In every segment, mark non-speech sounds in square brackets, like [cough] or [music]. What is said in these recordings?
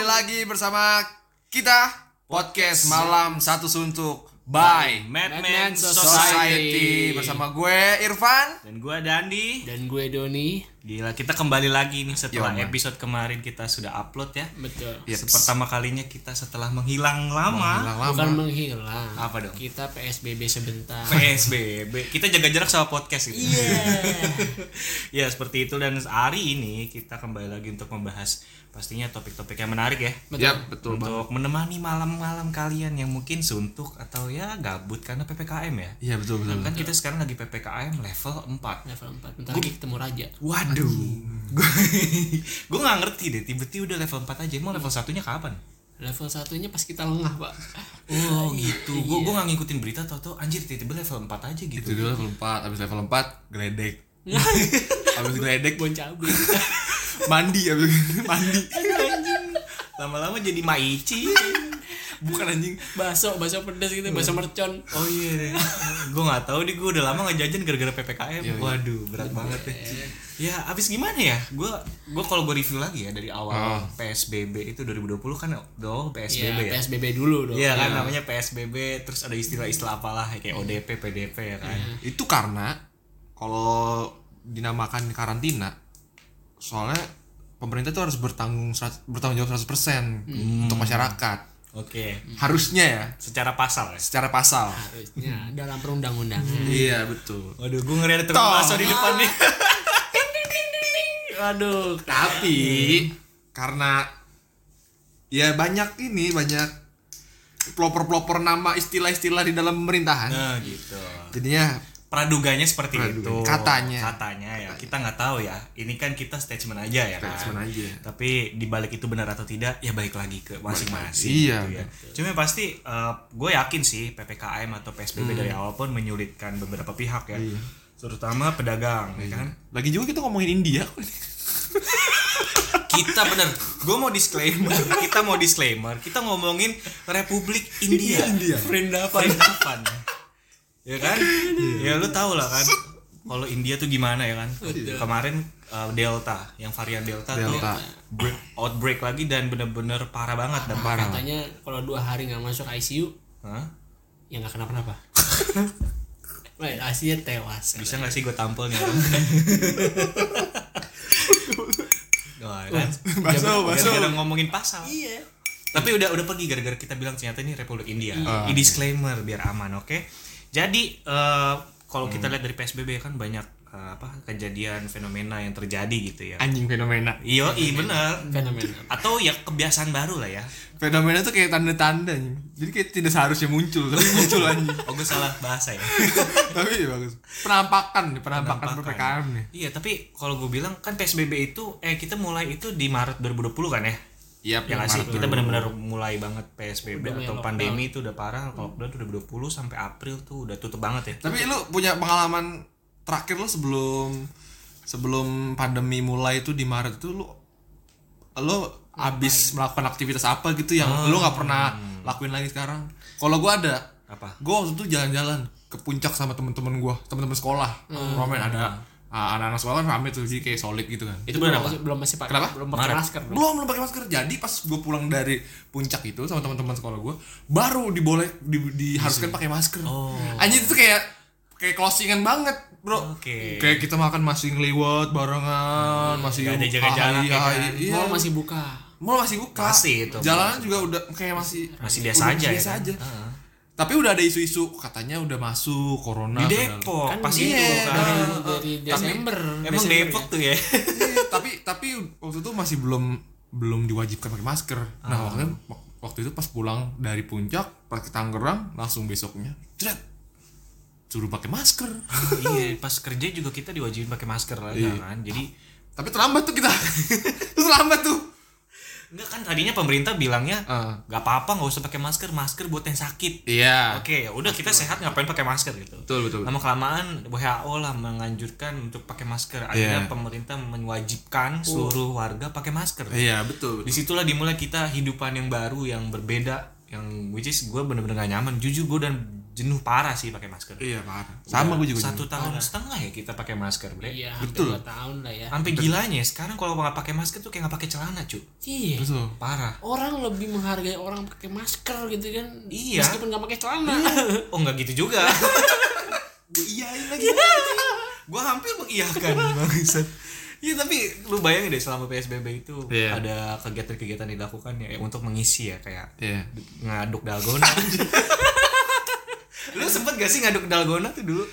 lagi bersama kita podcast malam satu suntuk by Madman Madman Society Society. bersama gue Irfan. Dan gue Dandi. Dan gue Doni. Gila, kita kembali lagi nih setelah Yo, man. episode kemarin kita sudah upload ya. Betul. Yeps. Pertama kalinya kita setelah menghilang lama. Hilang Bukan lama. menghilang. Apa dong? Kita PSBB sebentar. PSBB. Kita jaga jarak sama podcast gitu. [laughs] ya, seperti itu dan hari ini kita kembali lagi untuk membahas pastinya topik-topik yang menarik ya. Betul. Yap, betul banget. Untuk menemani malam-malam kalian yang mungkin suntuk atau ya gabut karena PPKM ya. Iya betul betul. Kan kita sekarang lagi PPKM level 4. Level 4. Bentar lagi ketemu raja. Waduh. [laughs] Gue gak ngerti deh, tiba-tiba udah level 4 aja. Emang level satunya kapan? Level satunya pas kita lengah, Pak. [laughs] Oh gitu. Gue gue gak ngikutin berita tau tau anjir tiba-tiba level 4 aja gitu. Itu dulu level 4, habis level 4 [laughs] geledek. habis geledek Bon cabe. [laughs] mandi habis mandi. [laughs] Lama-lama jadi maici. Bukan anjing. baso, baso pedas gitu, baso mercon. Oh iya. gue gak tahu deh gue udah lama gak jajan gara-gara PPKM. Waduh, berat banget ya. Ya, abis gimana ya? Gue gue kalau gue review lagi ya dari awal PSBB itu 2020 kan doang Iya, PSBB ya. PSBB dulu dong. Iya kan namanya PSBB terus ada istilah-istilah apalah kayak ODP, PDP ya kan. Itu karena kalau dinamakan karantina soalnya pemerintah tuh harus bertanggung serat- bertanggung jawab 100% untuk masyarakat. Oke, Harusnya ya, secara pasal ya. secara pasal. Harusnya dalam [laughs] perundang-undangan. Hmm. Iya, betul. Waduh, gue ngeri ada tukang Tong. bakso di depan nih. Aduh. Tapi karena ya banyak ini banyak pelopor-pelopor nama istilah-istilah di dalam pemerintahan. [laughs] Nah, gitu. Jadinya Praduganya seperti itu. Praduga. Katanya. Katanya ya. Kita nggak tahu ya. Ini kan kita statement aja ya kan. Statement aja. Tapi dibalik itu benar atau tidak ya balik lagi ke masing-masing. Iya, gitu ya. Cuma yang pasti gue yakin sih PPKM atau PSBB dari awal pun menyulitkan beberapa pihak ya. Terutama pedagang ya kan. lagi juga kita ngomongin India. kita bener gue mau disclaimer kita mau disclaimer kita ngomongin Republik India India. Vrindavan Vrindavan. ya kan ya lu tau lah kan kalau India tuh gimana ya kan kemarin uh, Delta yang varian Delta, Delta. tuh break- outbreak lagi dan bener-bener parah banget dan parah Katanya kalau dua hari nggak masuk ICU, Hah? ya nggak kenapa-napa. [laughs] Wah, Asia tewas. bisa nggak sih gue tampil nih orang? Wah, kan? Baso, baso. Gara-gara ngomongin pasal Iya. Tapi udah udah pergi gara-gara kita bilang ternyata ini Republik India. Iya. Ini disclaimer biar aman, oke? Jadi eh, kalau kita Hmm. lihat dari PSBB kan banyak eh, apa kejadian fenomena yang terjadi gitu ya. Anjing fenomena. Iya, iya bener. Fenomena. Atau ya kebiasaan baru lah ya. Fenomena tuh kayak tanda-tanda anjing. Jadi kayak tidak seharusnya muncul, tapi muncul [laughs] anjing. Oh, gue salah bahasa ya. tapi ya bagus. Penampakan, nih, penampakan, Penampakan. PPKM nih. Iya, tapi kalau gue bilang kan PSBB itu eh kita mulai itu di Maret 2020 kan ya? Iya, Ya nggak sih, kita benar-benar mulai banget PSBB atau pandemi itu udah parah. Kalau udah 2020 sampai April tuh udah tutup banget ya. Tapi lu punya pengalaman terakhir lu sebelum sebelum pandemi mulai itu di Maret itu lu lu abis melakukan aktivitas apa gitu yang lu nggak pernah lakuin lagi sekarang? Kalau gua ada, Apa? gua waktu itu jalan-jalan ke puncak sama temen-temen gua, temen-temen sekolah. Romen ada ah, anak-anak sekolah kan rame tuh jadi kayak solid gitu kan. Itu benar apa? Belum masih pakai. Kenapa? Belum pakai Maret. masker. belum belum pakai masker jadi pas gue pulang dari puncak itu sama teman-teman sekolah gue baru diboleh di- diharuskan pakai masker Oh. anjir itu kayak kayak closingan banget bro Oke. kayak kita makan masih ngeliwat barengan masih nggak ada jaga ah, jarak iya, ya kan? iya. Mall masih buka. mall masih buka Masih itu. jalanan juga udah kayak masih Masih biasa udah aja ya biasa kan? aja tapi udah ada isu-isu katanya udah masuk corona di padahal. Depok Kan pas iya, itu kan. dari, dari Desember. emang Desember Depok ya? tuh ya Iya, tapi tapi waktu itu masih belum belum diwajibkan pakai masker. Nah, waktu waktu itu pas pulang dari puncak pas ke Tangerang langsung besoknya. Jret. Suruh pakai masker. [laughs] iya pas kerja juga kita diwajibin pakai masker lah Iya. kan jadi tapi terlambat tuh kita. [laughs] Terus terlambat tuh. enggak kan tadinya pemerintah bilangnya Ah. nggak apa-apa nggak usah pakai masker masker buat yang sakit Iya. Oke, ya udah kita sehat ngapain pakai masker gitu. Betul, betul, betul. Lama kelamaan WHO lah menganjurkan untuk pakai masker. Iya. Akhirnya pemerintah mewajibkan seluruh warga pakai masker. Iya, betul. disitulah dimulai kita hidupan yang baru yang berbeda yang which is gue bener-bener gak nyaman jujur gue dan jenuh parah sih pakai masker. Iya parah. Sama gue juga. Satu gitu. tahun setengah ya kita pakai masker, Bre. Iya, hampir Betul. dua tahun lah ya. Sampai gilanya sekarang kalau nggak pakai masker tuh kayak nggak pakai celana, cu. Iya. Betul. Parah. Orang lebih menghargai orang pakai masker gitu kan. Iya. Meskipun nggak pakai celana. [laughs] Iya. [laughs] Oh nggak gitu [laughs] juga. Gua iyain lagi. Gua hampir [laughs] mengiyakan bangsat. Iya tapi lu bayangin deh selama PSBB itu Iya. ada kegiatan-kegiatan dilakukan ya untuk mengisi ya kayak [laughs] Iya. ngaduk [laughs] dalgona. lu sempet gak sih ngaduk dalgona tuh dulu?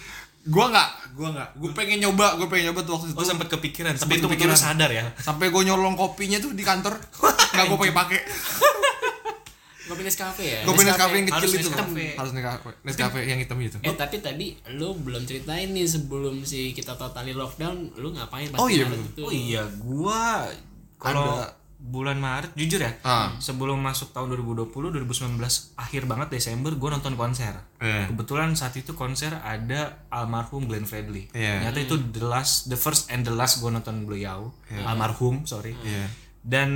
Gue nggak, gue nggak. Gue pengen nyoba, gue pengen nyoba tuh waktu itu. Oh sempet kepikiran, Sempet tapi itu kepikiran. kepikiran sadar ya. Sampai gue nyolong kopinya tuh di [laughs] kantor. Nggak gue pakai pakai. Kopi Nescafe ya. Kopi Nescafe yang Harus kecil itu. Nescafe. Harus Nescafe. Nescafe yang hitam gitu. itu. Eh tapi tadi lu belum ceritain nih sebelum si kita totally lockdown, lu ngapain pas Oh, iya, kemarin bener. itu? Oh iya, gua kalau bulan Maret jujur ya. Ah. Sebelum masuk tahun 2020, 2019 akhir banget Desember gua nonton konser. Iya. Kebetulan saat itu konser ada almarhum Glenn Fredly. Iya. Ternyata itu the last, the first and the last gua nonton beliau. Almarhum, sorry. Iya. Dan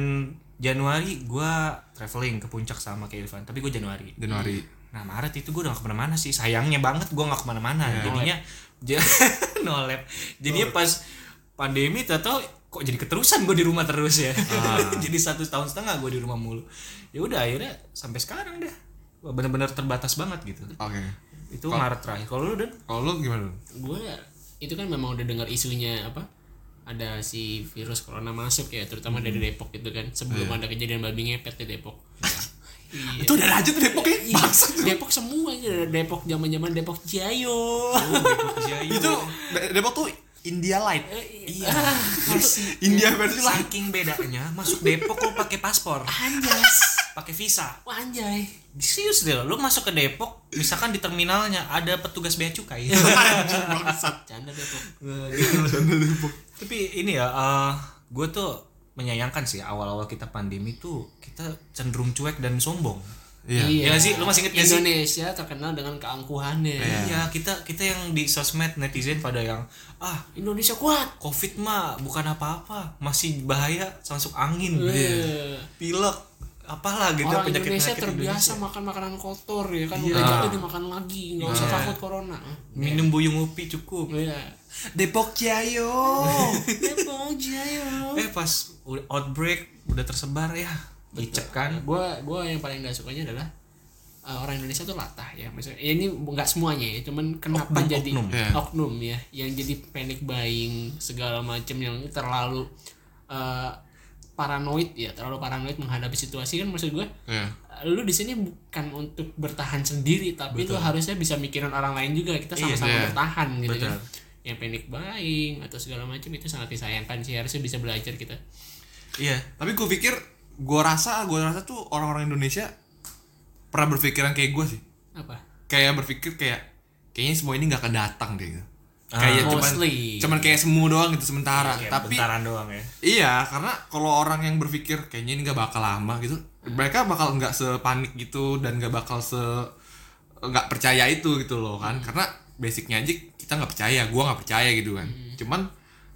Januari gua traveling ke puncak sama ke Irfan, tapi gua Januari. Januari. Nah Maret itu gue udah gak kemana-mana sih Sayangnya banget gue gak kemana-mana Jadinya [laughs] ja- No lab Jadinya pas pandemi tau Kok jadi keterusan gue di rumah terus ya [laughs] Jadi satu tahun setengah gue di rumah mulu ya udah akhirnya sampai sekarang dah Bener-bener terbatas banget gitu Oke. Itu Maret terakhir Kalau lu dan Kalau lu gimana? lu? Gue itu kan memang udah dengar isunya apa? Ada si virus corona masuk ya, terutama Hmm. dari Depok gitu kan. Sebelum Iya. ada kejadian babi ngepet di [laughs] Depok. Iya. Itu udah aja tuh Depoknya. Maksud Depok semua aja Depok zaman-zaman Depok Jayo. itu De- Depok tuh India Light. Iya. Masih India versi light. Saking bedanya Masuk Depok lu pakai paspor anjay. pakai visa Wah, Anjay. Serius deh lu masuk ke Depok Misalkan di terminalnya Ada petugas bea cukai Canda Depok. tapi ini ya eh gue tuh menyayangkan sih awal-awal kita pandemi tuh kita cenderung cuek dan sombong Iya. Iya nggak sih? Lu masih inget nggak sih? Indonesia terkenal dengan keangkuhannya. iya kita kita yang di sosmed netizen pada yang ah Indonesia kuat. covid mah bukan apa-apa masih bahaya masuk angin Gitu. Eh, pilek apalah gitu Orang penyakit Indonesia terbiasa makan makanan kotor ya kan Iya. udah jadi dimakan lagi nggak usah takut corona. minum buyung kopi cukup Iya. Oh, Depok Jayo. Depok Jayo. eh pas udah outbreak udah tersebar ya dicek kan Gue gue yang paling gak sukanya adalah eh, orang Indonesia tuh latah ya maksudnya ya ini nggak semuanya ya cuman kenapa Oknum, jadi oknum. Iya. oknum ya yang jadi panic buying segala macam yang terlalu eh, paranoid ya terlalu paranoid menghadapi situasi kan maksud gue Iya. lu di sini bukan untuk bertahan sendiri tapi lu harusnya bisa mikirin orang lain juga kita sama-sama iya. bertahan gitu Betul. kan yang panic buying atau segala macam itu sangat disayangkan sih harusnya bisa belajar kita iya Tapi gue pikir gue rasa gue rasa tuh orang-orang Indonesia pernah berpikiran kayak gue sih. apa Kayak berpikir kayak kayaknya semua ini nggak akan datang deh gitu. Kayak cuman mostly cuman kayak semu doang gitu sementara. Kayak Tapi Iya, bentaran doang ya Iya, karena kalau orang yang berpikir kayaknya ini nggak bakal lama gitu, mereka bakal nggak sepanik gitu dan nggak bakal se nggak percaya itu gitu loh kan, karena basicnya aja kita nggak percaya, gua nggak percaya gitu kan. Cuman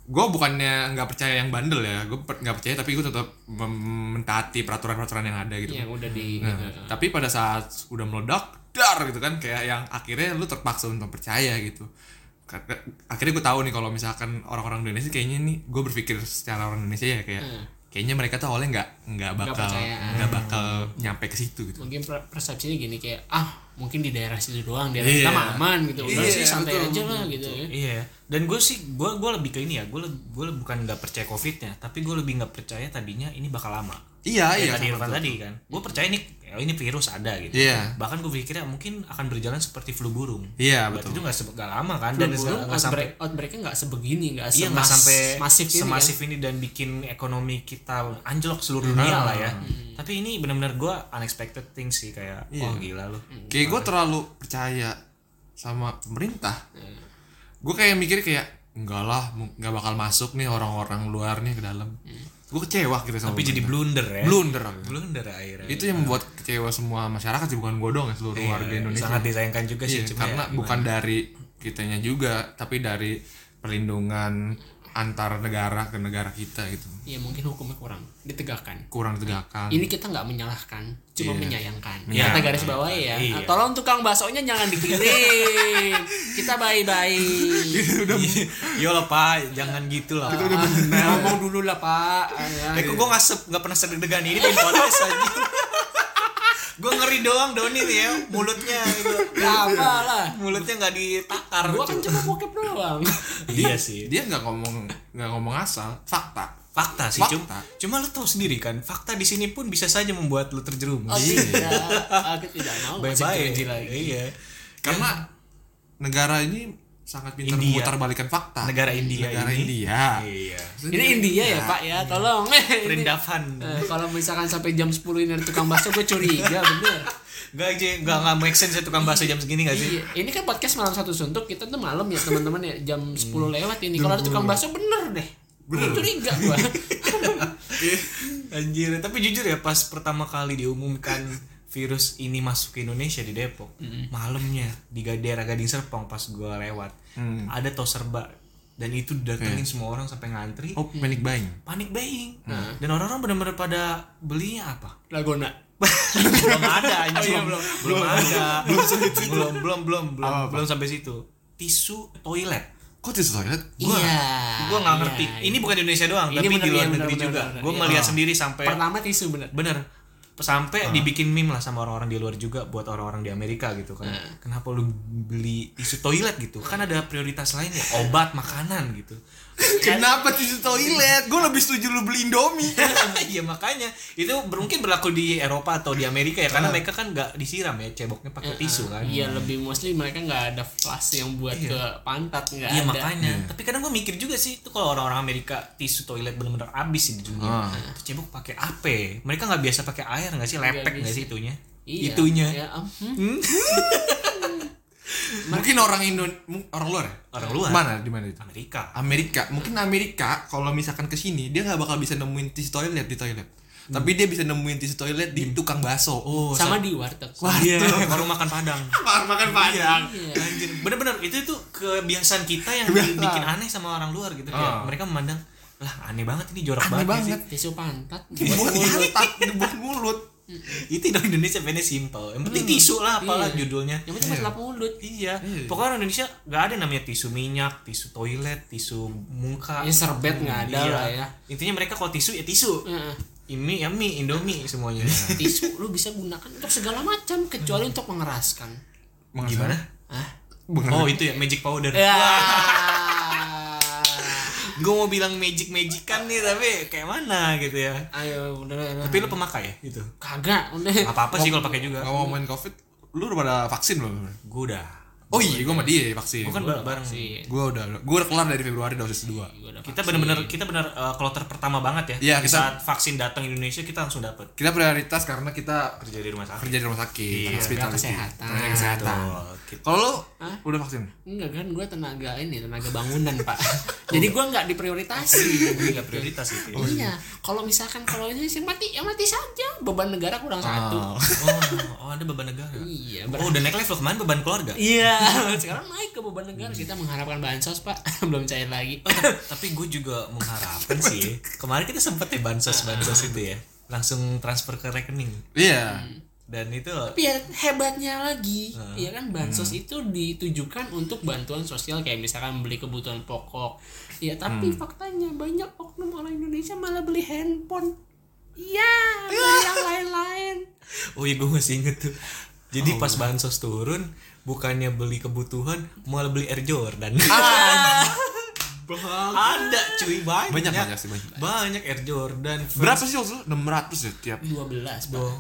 gua bukannya nggak percaya yang bandel ya, gua per- nggak percaya tapi gua tetap mem- mentaati peraturan-peraturan yang ada gitu. yang udah di gitu. Nah, tapi pada saat udah meledak dar gitu kan kayak yang akhirnya lu terpaksa untuk percaya gitu Karena- akhirnya gue tahu nih kalau misalkan orang-orang Indonesia kayaknya nih gue berpikir secara orang Indonesia ya kayak kayaknya mereka tuh awalnya nggak nggak bakal percaya. nggak bakal nyampe ke situ gitu mungkin per- persepsinya gini kayak ah mungkin di daerah situ doang daerah kita Iya. mah aman gitu udah Iya, sih santai betul, aja lah gitu ya Iya, dan gue sih gue gue lebih ke ini ya, gue gue bukan nggak percaya covidnya, tapi gue lebih nggak percaya tadinya ini bakal lama. iya Kayak iya tadi sama Irfan tuh. tadi kan, gue percaya ini ya ini virus ada gitu. Iya. Bahkan gue pikirnya mungkin akan berjalan seperti flu burung. Nah, iya betul Berarti itu nggak se- nggak lama kan dan dan nggak burung nggak sampai outbreak, outbreaknya nggak sebegini nggak iya nggak semas- sampai masif ini kan. semasif ini dan bikin ekonomi kita anjlok seluruh Hmm. dunia lah ya. Tapi ini benar-benar gue unexpected thing sih kayak Iya. oh gila lu. kayak gue terlalu percaya sama pemerintah gue kayak mikir kayak enggak lah mu- nggak bakal masuk nih orang-orang luar nih ke dalam gue kecewa gitu sama Tapi jadi pemerintah. blunder ya. blunder Blunder akhirnya. itu yang membuat kecewa semua masyarakat sih bukan gue doang ya seluruh warga Indonesia Iya, Sangat disayangkan juga Iya, sih cuma ya karena bukan dari kitanya juga tapi dari perlindungan antar negara ke negara kita gitu ya mungkin hukumnya kurang ditegakkan kurang ditegakkan ini kita nggak menyalahkan cuma Iya. menyayangkan Iya. kata garis bawah ya Iya. Ah, tolong tukang baksonya jangan dikirim kita bye bye Yo Iya, lah pak, jangan gitu lah. Pak. Nah, ngomong dulu lah pak Ah, ya. Eh, kok gue ngasep nggak pernah sedeg-degan ini pengen podcast aja. [laughs] gue ngeri doang Doni nih ya mulutnya gitu. Gak apa lah mulutnya nggak ditakar. Ya, gua kan cuma bokep doang Iya sih. dia nggak ngomong nggak ngomong asal fakta Fakta sih Fakta. cuma cuma lo tau sendiri kan fakta di sini pun bisa saja membuat lo terjerumus. oh tidak Ah, aku tidak mau bye masuk bye. gereja lagi Iya. karena negara ini sangat pintar India. memutar balikan fakta Negara India negara ini. India Iya. ini India ya pak ya tolong [laughs] Ini- Rendavan. Eh, kalau misalkan sampai jam 10 ini ada tukang bakso gue curiga [laughs] bener Gak aja, gak nggak make sense ya tukang bakso jam segini gak sih? Iya, ini kan podcast malam satu suntuk kita tuh malam ya teman-teman ya jam Hmm. 10 lewat ini kalau ada tukang bakso bener deh bener curiga [laughs] gua Anjir, tapi jujur ya pas pertama kali diumumkan virus ini masuk ke Indonesia di Depok, malamnya di ga- daerah Gading Serpong pas gua lewat, ada tos serba dan itu datengin semua orang sampai ngantri, oh panic buying panik buying. Nah. Dan orang-orang benar-benar pada belinya [laughs] apa? lagona belum ada anjing. belum, belum [laughs] ada. Belum Belum belum belum belum, belum sampai situ. Tisu toilet. kok di [laughs] toilet Gua- iya gue nggak iya, ngerti iya. ini bukan di Indonesia doang Ini tapi bener, di luar iya, bener, negeri bener, juga bener, gue iya. melihat sendiri sampai pertama tisu bener bener Ah. sampai dibikin meme lah sama orang-orang di luar juga buat orang-orang di Amerika gitu kan Eh. kenapa lu beli tisu toilet gitu kan ada prioritas lain ya Eh. obat makanan gitu kenapa di toilet gue lebih setuju lu beli indomie [laughs] [laughs] Iya makanya itu mungkin berlaku di Eropa atau di Amerika ya karena mereka kan nggak disiram ya ceboknya pakai tisu kan Ah. iya lebih mostly mereka nggak ada flash yang buat ke pantat nggak Iya ada makanya. Tapi kadang gue mikir juga sih itu kalau orang-orang Amerika tisu toilet bener-bener habis sih di dunia. Ah. Itu cebok pakai apa? Mereka nggak biasa pakai air nggak sih? Lepek nggak sih itunya? Iya, Itunya. ya, um, hmm. mungkin orang Indo mu- orang luar ya? Orang luar. mana di mana itu Amerika. Amerika mungkin Amerika kalau misalkan ke sini dia nggak bakal bisa nemuin tisu toilet di toilet tapi dia bisa nemuin tisu toilet di tukang bakso Hmm. oh sama di warteg Iya. Warung makan Padang. makan padang Iya. Anjir, bener-bener itu itu kebiasaan kita yang Kebiasaan. bikin aneh sama orang luar gitu. Kayak mereka memandang lah aneh banget ini jorok aneh banget. banget tisu pantat dibuat mulut dibuat mulut sih. Itu dong Indonesia pengennya simple. Yang penting tisu lah apalah Iya. judulnya. yang penting masalah mulut Hmm. Iya, pokoknya orang Indonesia nggak ada namanya tisu minyak, tisu toilet, tisu muka. Ya, serbet nggak ada Iya. lah ya. Intinya mereka kalau tisu ya tisu. Heeh. Ini ya mie, Indomie semuanya. tisu lu bisa gunakan untuk segala macam kecuali untuk mengeraskan Gimana? ah iya. Oh itu ya magic powder. Iya. Gue mau bilang magic magican nih tapi kayak mana gitu ya. ayo udah udah, udah. Tapi lu pemakai ya itu. kagak udah Apa apa sih kalau pakai juga? nggak mau main covid lu udah pada vaksin belum Gue udah. oh iya gue sama dia vaksin Bukan kan bareng. sih gue udah gue udah kelar dari Februari dosis 2 gua udah Kita benar-benar kita benar kloter pertama Iya, banget ya. Di kita- Saat vaksin datang Indonesia kita langsung dapet kita prioritas karena kita kerja di rumah sakit. kerja di rumah sakit Iya, hospital kesehatan. kesehatan Betul. Kita- kalau lu udah vaksin enggak kan gue tenaga ini tenaga bangunan pak [laughs] jadi gue nggak diprioritasi Ini nggak prioritas gitu. ya. iya kalau misalkan kalau ini sih mati ya mati saja beban negara kurang satu Oh, oh ada beban negara. iya Oh, ber- udah naik level kemarin beban keluarga. iya [laughs] sekarang naik ke beban negara kita mengharapkan bansos pak [laughs] belum cair lagi Oh, tapi, tapi gue juga mengharapkan sih. Kemarin kita sempet ya bansos bansos itu ya. Langsung transfer ke rekening. iya Dan itu Tapi ya hebatnya lagi, ya kan bansos Hmm. itu ditujukan untuk bantuan sosial kayak misalkan beli kebutuhan pokok. Ya tapi Hmm. faktanya banyak oknum orang Indonesia malah beli handphone. [laughs] Iya, beli yang lain-lain. oh iya gue masih inget tuh. Oh. Jadi pas bansos turun bukannya beli kebutuhan malah beli Air Jordan. Ah. ada cuy banyak. banyak banyak sih banyak Banyak Air Jordan. berapa sih waktu itu 600 ya tiap 12, Pak.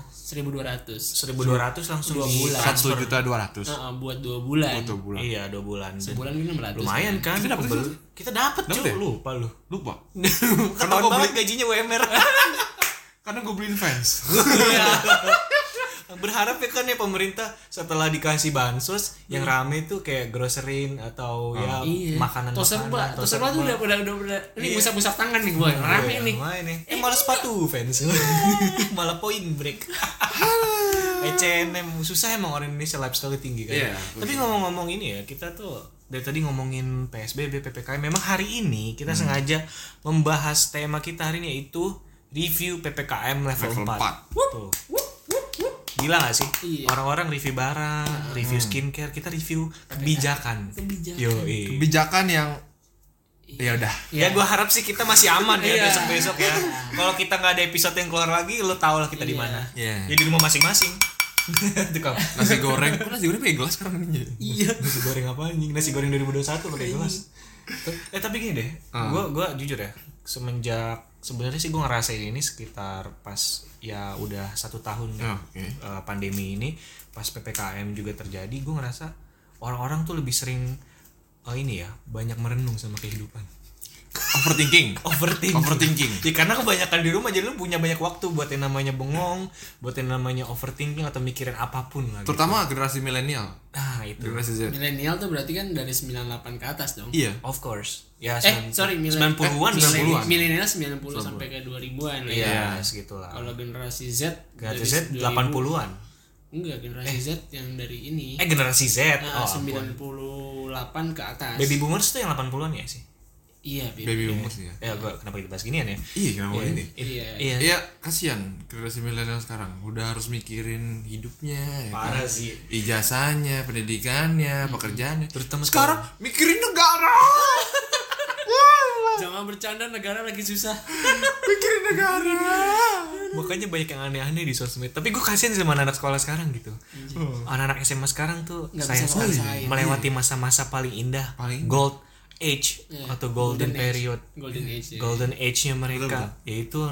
1200. 1200 langsung Dua di bulan. satu transfer. juta dua ratus Heeh, buat dua bulan. satu bulan Iya, dua bulan. Dan Bulan ini 600. Lumayan kan? Kita dapet Kebel- sih. Kita dapat Dapet cuy. ya? Lupa [laughs] lu. lupa Ketahuan gua banget gajinya WMR. [laughs] karena gue beliin fans Iya. Berharap ya kan ya pemerintah setelah dikasih bansos yang Hmm. rame tuh kayak grocerin atau Ah. ya Iya. makanan Tos serba, tos serba tuh udah udah udah, udah ini Iya. musab-musab tangan nih gua. Rame nih. [laughs] nih. Eh malah sepatu fans. malah poin break. Eh, C&M susah emang orang Indonesia lifestyle tinggi kan. Iya, Tapi ngomong-ngomong ini ya, kita tuh dari tadi ngomongin PSBB, PPKM. Memang hari ini kita sengaja membahas tema kita hari ini yaitu review PPKM level, Level 4. empat. Tuh. Gila gak sih? Iya. Orang-orang review barang, review skincare, kita review kebijakan. Kebijakan. Yoi. Kebijakan yang ya udah. Ya gue harap sih kita masih aman ya Iya. besok-besok [laughs] ya. Kalau kita nggak ada episode yang keluar lagi, lo tau lah kita di Iya. mana. Iya. Ya di rumah masing-masing. [laughs] Itu kamu. Nasi goreng. Kok nasi goreng pakai gelas sekarang ini? Iya. Nasi goreng apa anjing? Nasi goreng 2021 pakai gelas. Eh tapi gini deh, Ah. gue gua jujur ya, semenjak sebenarnya sih gue ngerasain ini sekitar pas ya udah satu tahun Oh, oke. eh, pandemi ini, pas ppkm juga terjadi, gue ngerasa orang-orang tuh lebih sering eh, ini ya banyak merenung sama kehidupan. Overthinking. iya. Overthinking. Overthinking. Ya karena kebanyakan di rumah jadi lu punya banyak waktu buat yang namanya bengong, buat yang namanya overthinking atau mikirin apapun lah. gitu. Terutama generasi milenial, Nah, itu. generasi Z. Milenial tuh berarti kan dari 98 ke atas dong. Iya. Of course. Ya, Eh, sembilan- sorry, milen- 90-an, eh, 90-an. 90-an. Milenial 90 sampai ke 2000-an. lah ya. Iya, segitulah. Kalau generasi Z Generasi dari Z 2000. 80-an. Enggak, generasi Z yang dari ini. Eh, generasi Z. Oh, Nah, ampun. 98 ke atas. Baby boomers tuh yang 80-an ya sih? Iya, baby. Baby boomers ya. Ya, gua kenapa kita bahas ginian ya? Iya, kenapa ini? Iya. Iya. Iya, kasihan generasi milenial sekarang udah harus mikirin hidupnya, ya kan? Parah sih. ijazahnya, pendidikannya, pekerjaannya. Terutama sekarang mikirin negara. Jangan bercanda negara lagi [laughs] susah. mikirin negara. Makanya banyak yang aneh-aneh di sosmed. Tapi gue kasihan sama anak-anak sekolah sekarang gitu. Anak-anak SMA sekarang tuh Nggak saya bisa ngerasain. melewati masa-masa paling indah, Paling gold age atau golden, Golden age. period, Golden age. Ya. golden age-nya mereka yaitu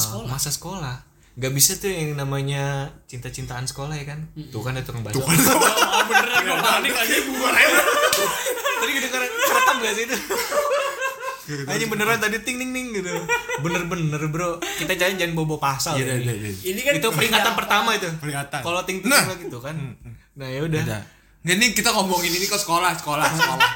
eh, sekolah. Masa sekolah. Gak bisa tuh yang namanya cinta-cintaan sekolah ya kan? Tuh kan ada tukang baca. Oh, beneran gua panik aja bukan [laughs] Tadi kedengeran kerekam gak sih itu? Hanya beneran tadi ting ning ning gitu. Bener-bener bro. Kita jangan jangan bobo pasal. ya. Iya, ini. iya, iya. [laughs] Ini kan itu peringatan pertama itu. Peringatan. Kalau ting ting Nah. lagi gitu kan. Nah, ya udah. Udah. Nah, ini kita ngomongin ini ke sekolah, sekolah, sekolah.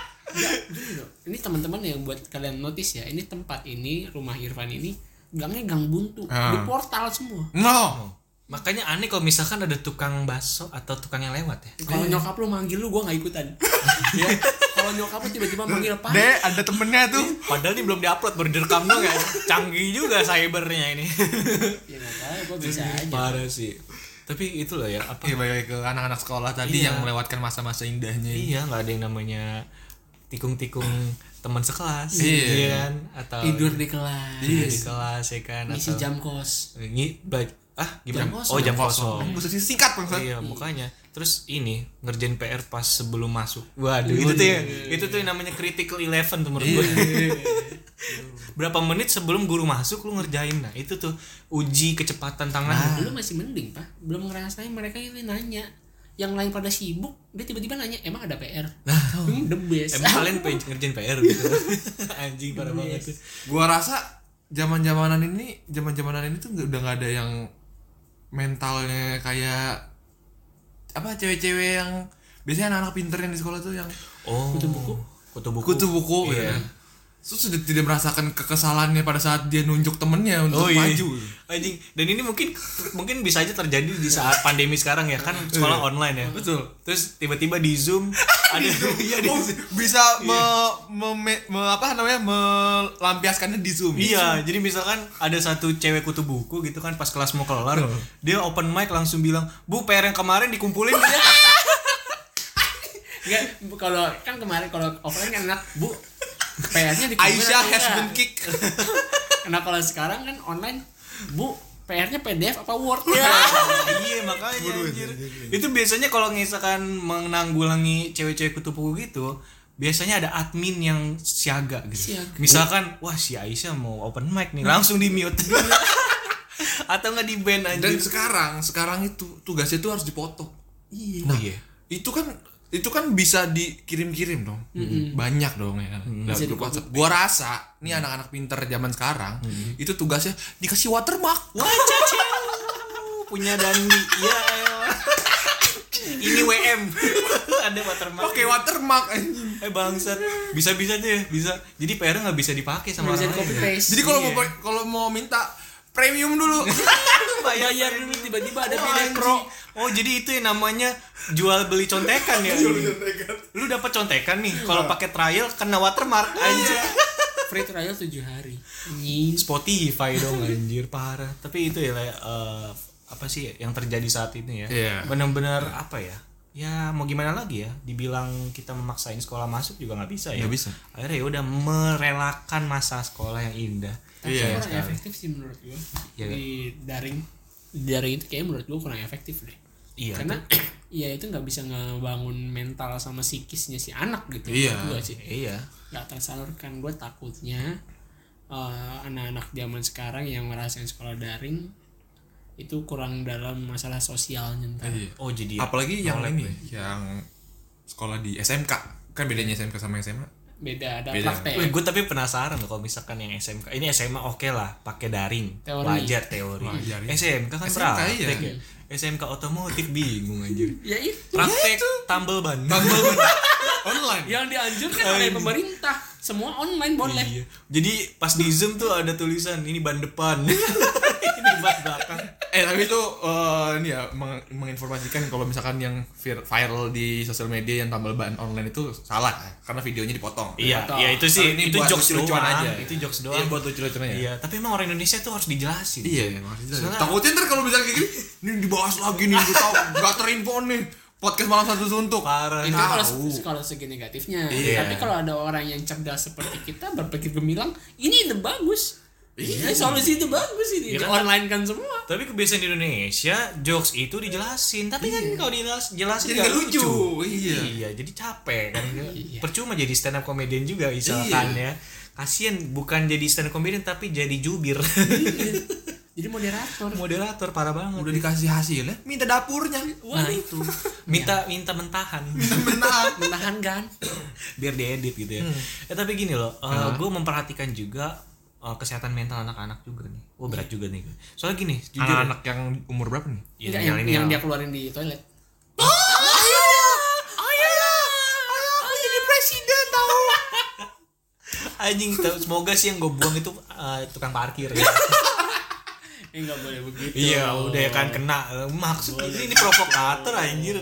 Ini teman-teman yang buat kalian notice ya, ini tempat ini, rumah Irfan ini gangnya gang buntu, Ah. di portal semua. no. Makanya aneh kalau misalkan ada tukang bakso atau tukang yang lewat ya. Kalau nyokap lu manggil lu, gua nggak [laughs] ikutan. ya. Kalau nyokap lu tiba-tiba manggil apa? Deh, ada temennya tuh. Padahal ini belum diupload baru direkam dong ya. Canggih juga cybernya ini. Ya nggak tahu, gua bisa aja. Parah sih. Tapi itulah ya apa Iya, balik ke anak-anak sekolah tadi yang melewatkan masa-masa indahnya ini. Iya, nggak ada yang namanya tikung-tikung teman sekelas, Iya. iya kan? Atau Tidur di kelas, tidur di kelas, ya kan? ngisi Atau jam kos. Ngi- ba- ah gimana? Jam kosong. oh jam kosong. kosong. Khususnya singkat bangsa. Iya makanya. Terus ini ngerjain PR pas sebelum masuk. Waduh, Iya, itu tuh ya, itu tuh yang namanya critical eleven tuh menurut gue. [laughs] Berapa menit sebelum guru masuk lu ngerjain nah itu tuh uji kecepatan tangan. Nah, Lu masih mending pak, belum ngerasain mereka ini nanya. Yang lain pada sibuk, dia tiba-tiba nanya, emang ada PR? Nah, the best. [laughs] Emang kalian pengen ngerjain PR gitu? [laughs] Anjing parah banget. tuh. gua rasa zaman zamanan ini zaman zamanan ini tuh nggak- udah nggak ada yang mentalnya kayak apa cewek-cewek yang biasanya anak-anak pinter yang di sekolah tuh yang Oh. Kutu buku. Kutu buku. kutu buku Iya. ya. Terus sudah tidak merasakan kekesalannya pada saat dia nunjuk temennya untuk Oh iya. maju. Anjing. Dan ini mungkin mungkin bisa aja terjadi di saat pandemi sekarang ya kan sekolah online ya. Betul. Terus tiba-tiba di Zoom [laughs] ada iya di Oh, bisa me- me- me- apa namanya melampiaskannya di Zoom. Iya, jadi misalkan ada satu cewek kutu buku gitu kan pas kelas mau kelar, dia open mic langsung bilang, "Bu, PR yang kemarin [laughs] dikumpulin ya." Enggak, bu- kalau kan kemarin kalau offline kan enak, Bu. PR-nya di Aisyah has been kick. Kenapa kalau sekarang kan online, Bu, PR-nya PDF apa Word? iya, makanya anjir. Itu biasanya kalau misalkan menanggulangi cewek-cewek kutu buku gitu, biasanya ada admin yang siaga gitu. Siaga. Misalkan, wah si Aisyah mau open mic nih, langsung di mute. [laughs] Atau nggak di [laughs] ban Dan anjir. sekarang sekarang itu tugasnya tuh harus dipotong. Iya. Nah, iya. itu kan itu kan bisa dikirim-kirim dong banyak dong ya kan Dalam Bisa grup WhatsApp. gua rasa nih anak-anak pinter zaman sekarang itu tugasnya dikasih watermark Wah, cacing. Oh, punya Dandi. Ya [laughs] elah. Ini WM. [laughs] Ada watermark. pakai watermark [laughs] anjing. Eh bangsat. Bisa-bisa tuh ya, bisa. Jadi PR nggak bisa dipakai sama Bisa orang di copy Iya. lain. paste. jadi kalau Iya. [laughs] mau kalau mau minta premium dulu [laughs] bayar, bayar dulu tiba-tiba ada pilihan pro. pro Oh, jadi itu yang namanya jual beli contekan ya. Lu dapat contekan nih. Iya. Kalau pakai trial kena watermark anjir. free trial 7 hari Anjing. Spotify dong anjir parah. Tapi itu ya Le, eh, apa sih yang terjadi saat ini ya? Iya. Benar-benar apa ya? Ya mau gimana lagi ya? Dibilang kita memaksain sekolah masuk juga nggak bisa ya. Nggak bisa. Akhirnya ya udah merelakan masa sekolah yang indah. tapi Iya, kurang efektif sih menurut gue Iya. di daring di daring itu kayaknya menurut gue kurang efektif deh Iya. karena [clears throat] ya itu nggak bisa ngebangun mental sama psikisnya si anak gitu Iya. menurut gue sih Iya. nggak tersalurkan gue takutnya eh, anak-anak zaman sekarang yang ngerasain sekolah daring itu kurang dalam masalah sosialnya ntar Iya. Oh, jadi Apalagi yang ini yang sekolah di SMK. Kan bedanya SMK sama SMA. beda ada Beda. praktek Wih, gue tapi penasaran loh kalau misalkan yang SMK ini SMA oke lah pakai daring Teori. wajar teori Wajar, iya. SMK kan SMK, praktek iya. ya SMK otomotif bingung anjir ya itu praktek tambel ban Tambah online. yang dianjurkan oleh pemerintah semua online boleh Iya. jadi pas di zoom tuh ada tulisan ini ban depan ini ban belakang Eh tapi itu eh, ini ya meng- menginformasikan kalau misalkan yang vir- viral di sosial media yang tambal ban online itu salah karena videonya dipotong. iya Atau- iya itu sih Ini itu buat jokes lucu-lucuan doang aja. itu jokes doang Iya, buat lucu-lucuan aja. iya tapi emang orang Indonesia tuh harus dijelasin Iya, maksudnya. Soalnya- Takutnya ntar kalau misalnya kayak gini, ini dibahas lagi nih, gue tau, [laughs] gak terinfo nih. Podcast malam satu suntuk. parah itu Tahu. kalau kalau segi negatifnya Iya. tapi kalau ada orang yang cerdas seperti kita berpikir gemilang ini ide bagus ini solusi itu bagus ini Iya kan? online kan semua tapi kebiasaan di Indonesia jokes itu dijelasin tapi kan kalau dijelas- jelasin Jadi nggak lucu. Iya. iya jadi capek kan Iya. percuma jadi stand up comedian juga misalkan ya kasian bukan jadi stand up comedian tapi jadi jubir jadi moderator [laughs] moderator parah banget Udah dikasih hasilnya, minta dapurnya. Nah, nah itu [laughs] minta minta mentahan Benar. menahan kan biar diedit gitu ya Eh, tapi gini loh gue memperhatikan juga eh, kesehatan mental anak-anak juga nih wah berat juga nih soalnya gini jujur Anak-anak yang umur berapa nih? ya, Enggak, yang yang, ini yang ya. dia keluarin di toilet jadi presiden tau. anjing tau- semoga sih yang gue buang itu eh, tukang parkir Eh, nggak boleh begitu Iya, udah ya kan kena. Maksud ini, ini provokator anjir.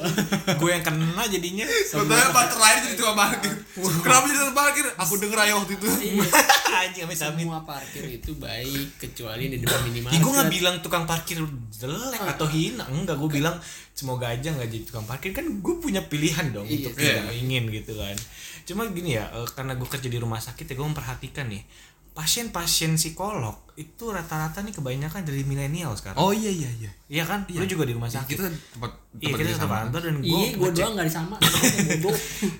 Gue yang kena jadinya. [laughs] Sebenarnya pacar lain jadi tukang parkir. Kenapa jadi tukang parkir? Aku denger aja waktu itu. Iya. anjing amit amit. semua parkir itu baik kecuali di depan minimarket Ya, gue gak bilang tukang parkir jelek atau hina Enggak, gue bilang semoga aja gak jadi tukang parkir Kan gue punya pilihan dong Iya untuk sih. tidak ingin gitu kan Cuma gini ya, eh, karena gue kerja di rumah sakit ya gue memperhatikan nih Pasien-pasien psikolog itu rata-rata nih kebanyakan dari milenial sekarang Oh iya iya iya. Iya kan? Lu juga di rumah sakit Kita tempat Iya, tempat kita satu sama. kantor dan gue iya gue doang nggak [laughs] disama bodoh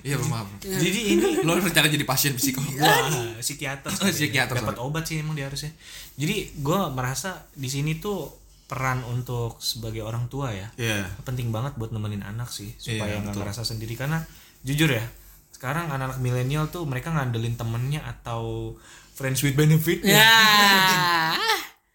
Iya maaf. Jadi ini Lo rencana jadi pasien psikolog. Iya. Wah, Nah, psikiater. sebenarnya. Oh, Psikiater, Dapat obat sih emang dia harusnya. Jadi gue merasa di sini tuh peran untuk sebagai orang tua ya Iya. penting banget buat nemenin anak sih supaya Iya, nggak betul. ngerasa sendiri karena jujur ya sekarang anak-anak milenial tuh mereka ngandelin temennya atau friends with benefit Iya, ya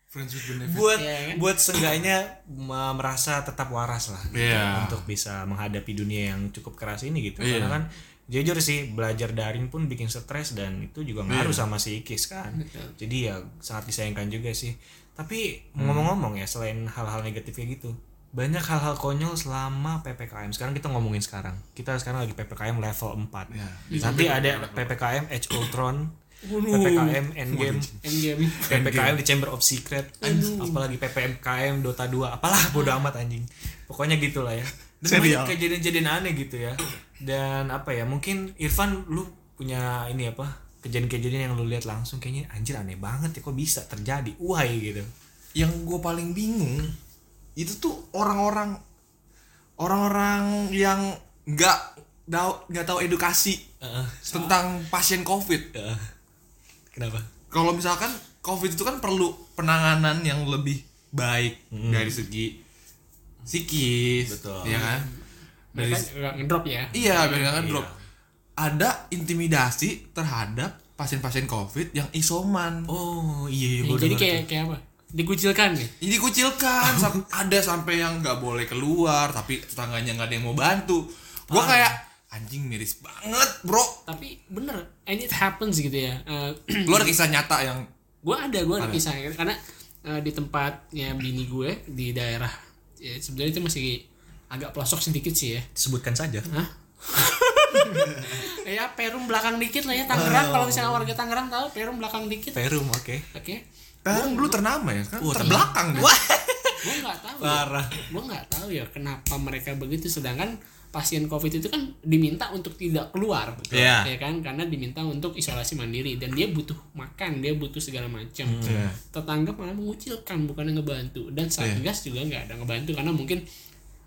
Friends with benefit. buat Iya, kan? buat seenggaknya me- merasa tetap waras lah gitu, Iya. untuk bisa menghadapi dunia yang cukup keras ini gitu Iya. karena kan jujur sih belajar daring pun bikin stres dan itu juga Iya. ngaruh sama psikis kan jadi ya sangat disayangkan juga sih tapi Hmm. ngomong-ngomong ya selain hal-hal negatif kayak gitu banyak hal-hal konyol selama PPKM sekarang kita ngomongin sekarang kita sekarang lagi PPKM level 4 Iya. nanti ada PPKM Edge Ultron PPKM Endgame endgame PPKM di Chamber of Secret anjing. apalagi PPMKM Dota 2 apalah bodo amat anjing pokoknya gitulah ya Dan Serial. banyak kejadian-kejadian aneh gitu ya dan apa ya mungkin Irfan lu punya ini apa kejadian-kejadian yang lu lihat langsung kayaknya anjir aneh banget ya kok bisa terjadi why gitu yang gue paling bingung itu tuh orang-orang orang-orang yang nggak tahu nggak tahu edukasi Heeh. tentang pasien covid Heeh. kenapa kalau misalkan covid itu kan perlu penanganan yang lebih baik dari segi psikis Hmm. Betul. ya kan dari mereka nggak ngedrop ya iya biar nggak drop ada intimidasi terhadap pasien-pasien covid yang isoman oh iya iya Ya, gua jadi denger kayak tuh. kayak apa dikucilkan nih Ini kucilkan sam- [laughs] ada sampai yang nggak boleh keluar tapi tetangganya nggak ada yang mau bantu gua kayak anjing miris banget bro tapi bener and it happens gitu ya Eh, [clears throat] lu ada kisah nyata yang gue ada gue ada kisah karena eh, di tempatnya bini gue di daerah ya, sebenarnya itu masih agak pelosok sedikit sih ya Sebutkan saja. Hah? [laughs] ya Perum belakang dikit lah ya Tangerang kalau misalnya warga Tangerang tahu Perum belakang dikit oke Perum, oke. Kan dulu ternama ya kan Wah, terbelakang deh. gue nggak tahu ya. Parah. gue nggak tahu ya kenapa mereka begitu sedangkan pasien covid itu kan diminta untuk tidak keluar betul Iya. ya kan karena diminta untuk isolasi mandiri dan dia butuh makan dia butuh segala macam Hmm. Iya. tetangga malah mengucilkan bukan ngebantu dan satgas juga nggak ada ngebantu karena mungkin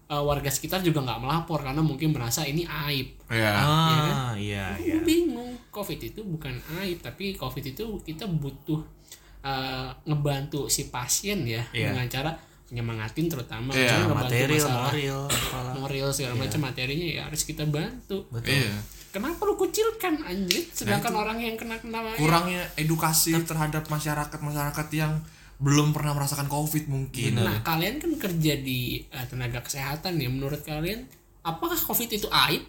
eh, warga sekitar juga nggak melapor karena mungkin merasa ini aib [laughs] Iya. Ah, iya, iya. Gua bingung covid itu bukan aib tapi covid itu kita butuh eh, ngebantu si pasien ya Iya. dengan cara menyemangatin terutama Iya, Maksudnya ngebantu Material, masalah moral, moral segala macam materinya ya harus kita bantu Betul. Nah, Iya. kenapa lu kucilkan anjir sedangkan orang yang kena kena Kurangnya edukasi terhadap masyarakat-masyarakat yang belum pernah merasakan Covid mungkin. nah kalian kan kerja di eh, tenaga kesehatan ya menurut kalian apakah covid itu aib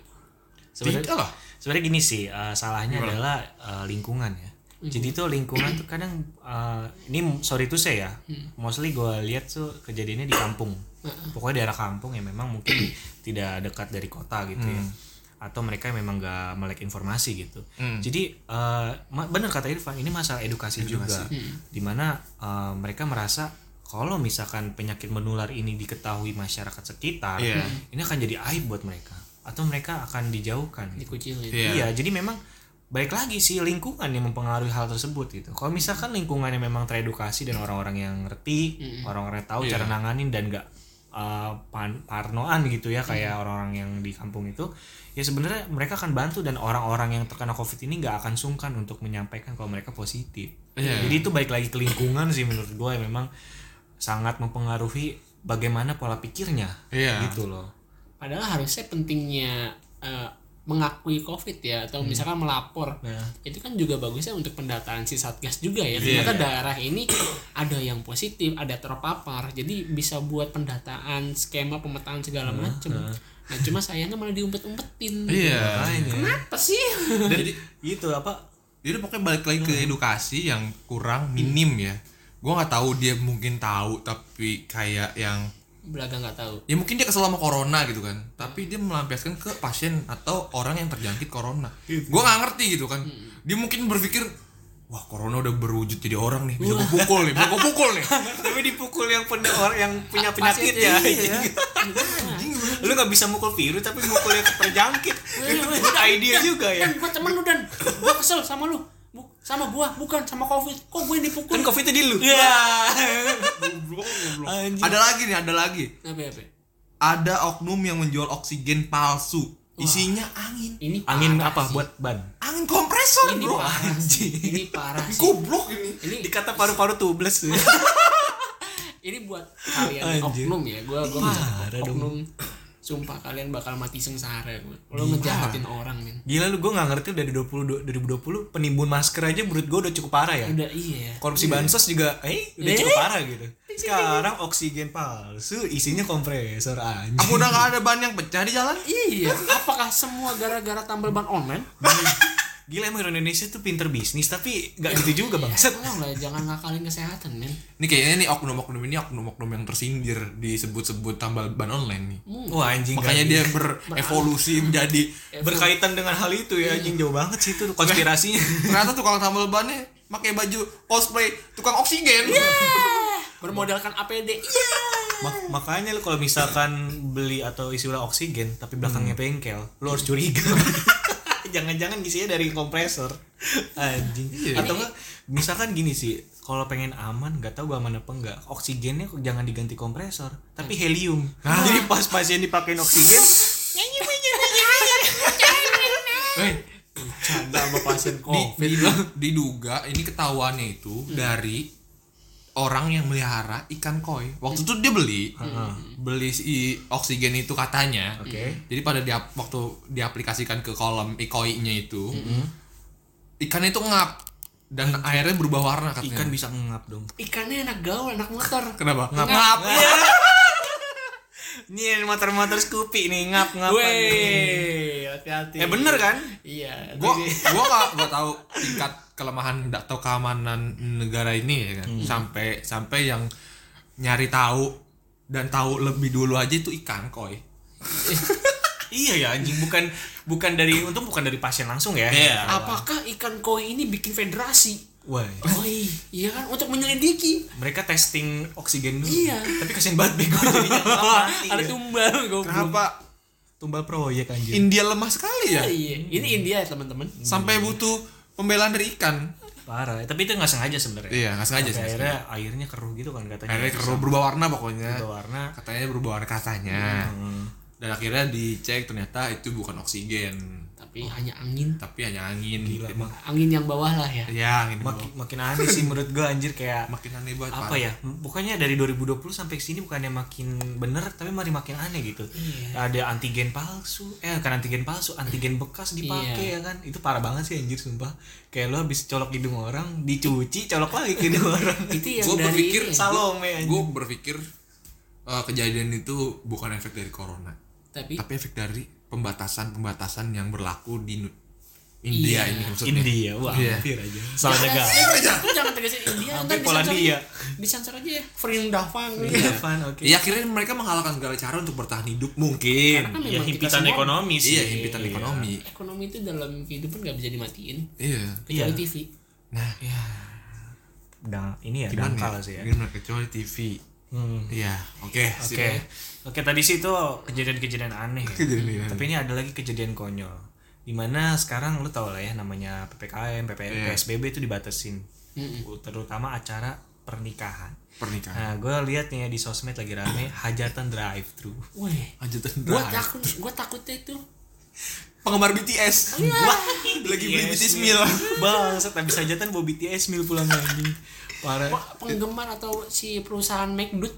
Tidak lah. sebenarnya gini sih eh, salahnya adalah eh, lingkungan ya jadi tuh lingkungan tuh kadang eh, ini sorry tuh saya ya mostly gue lihat tuh kejadiannya di kampung pokoknya daerah kampung ya memang mungkin tidak dekat dari kota gitu ya atau mereka memang gak melek informasi gitu jadi eh, ma- bener kata Irfan ini masalah edukasi, juga dimana eh, mereka merasa kalau misalkan penyakit menular ini diketahui masyarakat sekitar Iya. ini akan jadi aib buat mereka atau mereka akan dijauhkan gitu. dikucilin Iya. Iya, jadi memang balik lagi sih lingkungan yang mempengaruhi hal tersebut gitu. Kalau misalkan lingkungannya memang teredukasi dan orang-orang yang ngerti, orang-orang yang tahu cara Iya. nanganin dan nggak uh, pan- parnoan gitu ya kayak orang-orang yang di kampung itu, ya sebenarnya mereka akan bantu dan orang-orang yang terkena covid ini nggak akan sungkan untuk menyampaikan kalau mereka positif. Iya. Jadi itu balik lagi ke lingkungan sih menurut gue yang memang sangat mempengaruhi bagaimana pola pikirnya Iya. gitu loh. padahal harusnya pentingnya eh, mengakui covid ya atau misalkan melapor Nah. itu kan juga bagusnya untuk pendataan si satgas juga ya ternyata daerah ini ada yang positif ada terpapar jadi bisa buat pendataan skema pemetaan segala macem nah cuma sayangnya malah diumpet-umpetin Iya. apa sih Jadi Gitu apa jadi pokoknya balik lagi ke edukasi yang kurang minim ya. Gua nggak tahu dia mungkin tahu tapi kayak yang belaga nggak tahu ya mungkin dia kesel sama corona gitu kan tapi dia melampiaskan ke pasien atau orang yang terjangkit corona gua nggak ngerti gitu kan dia mungkin berpikir wah corona udah berwujud jadi orang nih bisa gua pukul nih bisa gua pukul nih tapi dipukul yang punya orang yang punya Pasien penyakit ya iya. lu nggak bisa mukul virus tapi mukul yang terjangkit itu good idea juga ya dan gua temen lu dan gua kesel sama lu Bu- sama gua bukan sama covid kok gue dipukul kan covid tadi lu Iya. Anjing. ada lagi nih ada lagi apa ya, apa ada oknum yang menjual oksigen palsu isinya angin ini angin parah apa sih. buat ban angin kompresor ini bro parah sih ini parah sih goblok ini ini dikata paru-paru tubles ini [laughs] buat kalian Anjir. oknum ya gue gue Parah dong. oknum sumpah kalian bakal mati sengsara gue Iya, lo ngejahatin orang men gila lu gue nggak ngerti dari 20 2020 penimbun masker aja menurut gue udah cukup parah ya udah iya korupsi bansos juga eh udah Eh. cukup parah gitu sekarang oksigen palsu isinya kompresor anjing apa udah gak ada ban yang pecah di jalan iya apakah semua gara-gara tambal ban online gila emang orang Indonesia tuh pinter bisnis tapi nggak gitu juga bangsat tolong Iya, lah jangan ngakalin kesehatan men ini kayaknya nih oknum-oknum ini oknum-oknum yang tersindir disebut-sebut tambal ban online nih Wah anjing makanya gak- dia berevolusi menjadi Iya. berkaitan dengan hal itu ya anjing jauh banget sih itu konspirasinya. ternyata tukang tambal bannya pakai baju cosplay tukang oksigen bermodalkan APD Ma- makanya lu kalau misalkan beli atau isi ulang oksigen tapi belakangnya bengkel, lu harus curiga. [laughs] Jangan-jangan isinya dari kompresor. Anjing. Atau enggak misalkan gini sih, kalau pengen aman nggak tahu gua aman apa enggak. Oksigennya kok jangan diganti kompresor, tapi helium. Jadi pas pasien dipakein oksigen, Eh, canda sama pasien di, covid di- diduga ini ketahuannya itu dari orang yang melihara ikan koi waktu itu dia beli beli si oksigen itu katanya Oke. jadi pada dia waktu diaplikasikan ke kolam ikoinya itu ikan itu ngap dan airnya berubah warna ikan katanya bisa ngap dong. ikannya enak gaul enak motor kenapa ngap, Ini motor-motor Scoopy nih ngap-ngap. Wey, hati-hati. Ya bener kan? Iya. gua tapi- gua gak gua tahu tingkat kelemahan atau keamanan negara ini ya kan sampai sampai yang nyari tahu dan tahu lebih dulu aja itu ikan koi Iya ya anjing bukan bukan dari untung bukan dari pasien langsung ya. Iya. Apakah ikan koi ini bikin federasi? Wah. Koi, iya kan untuk menyelidiki. Mereka testing oksigen dulu. Iya. Tapi kasihan banget bego [laughs] jadinya. Iya. Malah mati Ada dia. tumbal goblok. kenapa tumbal proyek anjing. India lemah sekali ya Iya, ini India ya teman-teman. sampai butuh pembelaan dari ikan Parah. eh, Tapi itu nggak sengaja sebenarnya. iya nggak sengaja Sampai sih akhirnya airnya keruh gitu kan katanya. akhirnya keruh berubah warna pokoknya Itu warna. katanya berubah warna katanya Hmm. dan akhirnya dicek ternyata itu bukan oksigen Tapi hanya angin. tapi hanya angin Gila, gitu. mak- Angin yang bawah lah ya. ya angin makin bawah. makin aneh sih menurut gua anjir kayak makin aneh banget apa Pak. ya pokoknya dari 2020 sampai sini bukannya makin bener tapi mari makin aneh gitu ada antigen palsu eh kan antigen palsu antigen bekas dipakai ya kan itu parah banget sih anjir sumpah kayak lo habis colok hidung orang dicuci colok lagi ke hidung orang [laughs] Itu yang Gua dari berpikir ini ya. salome anjir gue berpikir eh, kejadian itu bukan efek dari corona Tapi tapi efek dari pembatasan pembatasan yang berlaku di Nu- India Iya, ini maksudnya India wah Iya. hampir aja Iya, salah jaga Lu eh, jangan tegasin Hampir India, ntar disensor. Polandia. Disensor aja ya. Vrindavang. Evan oke ya akhirnya mereka menghalalkan segala cara untuk bertahan hidup Karena mungkin ya kan memang kita himpitan semua- ekonomi sih iya himpitan ekonomi Ekonomi itu dalam kehidupan nggak bisa dimatiin. iya Kecuali Iya. TV. nah Nah, ini ya gimana dangkal ya? Iya. sih ya gimana kecuali TV Hmm. iya oke Oke. sip. Oke, tadi sih itu kejadian-kejadian aneh. ya. Kejadian aneh. Tapi ini ada lagi kejadian konyol. Dimana sekarang lu tau lah ya namanya PPKM, PP, Iya. PSBB itu dibatasin. Terutama acara pernikahan. pernikahan Nah, gue lihat nih ya di sosmed lagi rame hajatan drive thru. Wih. lanjutan Gua drive. takut, gua takutnya itu. penggemar BTS Iya. lagi beli BTS meal [laughs] Bangsat habis hajatan bawa BTS meal pulang lagi. Parah. Wah, penggemar atau si perusahaan McDood,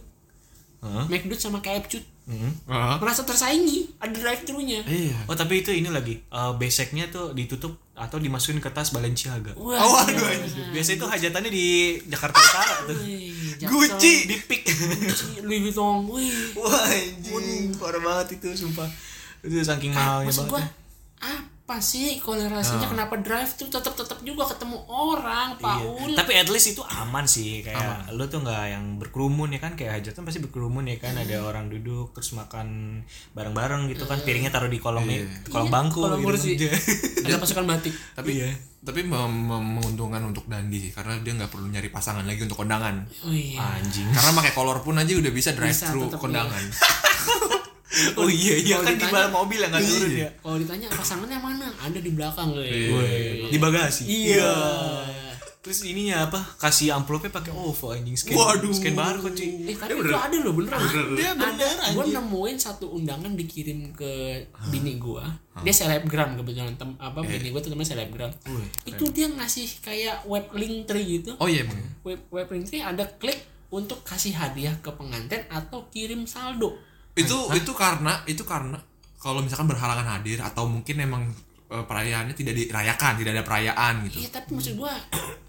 Hah? McDood sama KFC Mm. Hah? merasa tersaingi, ada drive thru-nya. iya Oh, tapi itu ini lagi. eh, beseknya tuh ditutup atau dimasukin ke tas Balenciaga. Wah, Oh, waduh, iya. Biasanya itu hajatannya di Jakarta Utara tuh. Iya. Wih, Jaksel, Gucci di pick Gucci, Louis Vuitton. Wih. [laughs] wah anjing parah banget itu sumpah itu saking mahalnya Maksud gua Ah, iya banget ya. Ah. apa sih kolerasinya kenapa drive tuh tetap tetap juga ketemu orang Paul Iya. tapi at least itu aman sih kayak lu tuh nggak yang berkerumun ya kan kayak hajatan pasti berkerumun ya kan Hmm. ada orang duduk terus makan bareng-bareng gitu kan piringnya taruh di kolong me- kolong bangku Iya. Kolong kursi. gitu [laughs] ada pasukan batik tapi tapi mem- mem- menguntungkan untuk Dandi sih karena dia nggak perlu nyari pasangan lagi untuk kondangan oh iya [laughs] anjing karena pakai kolor pun aja udah bisa drive Bisa, thru tetep, iya. kondangan oh iya iya Kalau kan di ditanya- Iya. bawah mobil yang nggak turun ya kalau ditanya pasangannya mana ada di belakang gue Iya. Woi, di bagasi iya terus ininya apa kasih amplopnya pakai OVO anjing scan Waduh. scan barcode cuy eh tapi itu ada loh beneran Dia bener, gue nemuin satu undangan dikirim ke bini gue dia selebgram kebetulan tem apa Iya. bini gue tuh temen selebgram itu dia ngasih kayak web link tree gitu oh iya emang web web link tree ada klik untuk kasih hadiah ke pengantin atau kirim saldo itu itu karena itu karena kalau misalkan berhalangan hadir atau mungkin emang eh, perayaannya tidak dirayakan tidak ada perayaan gitu iya tapi maksud gue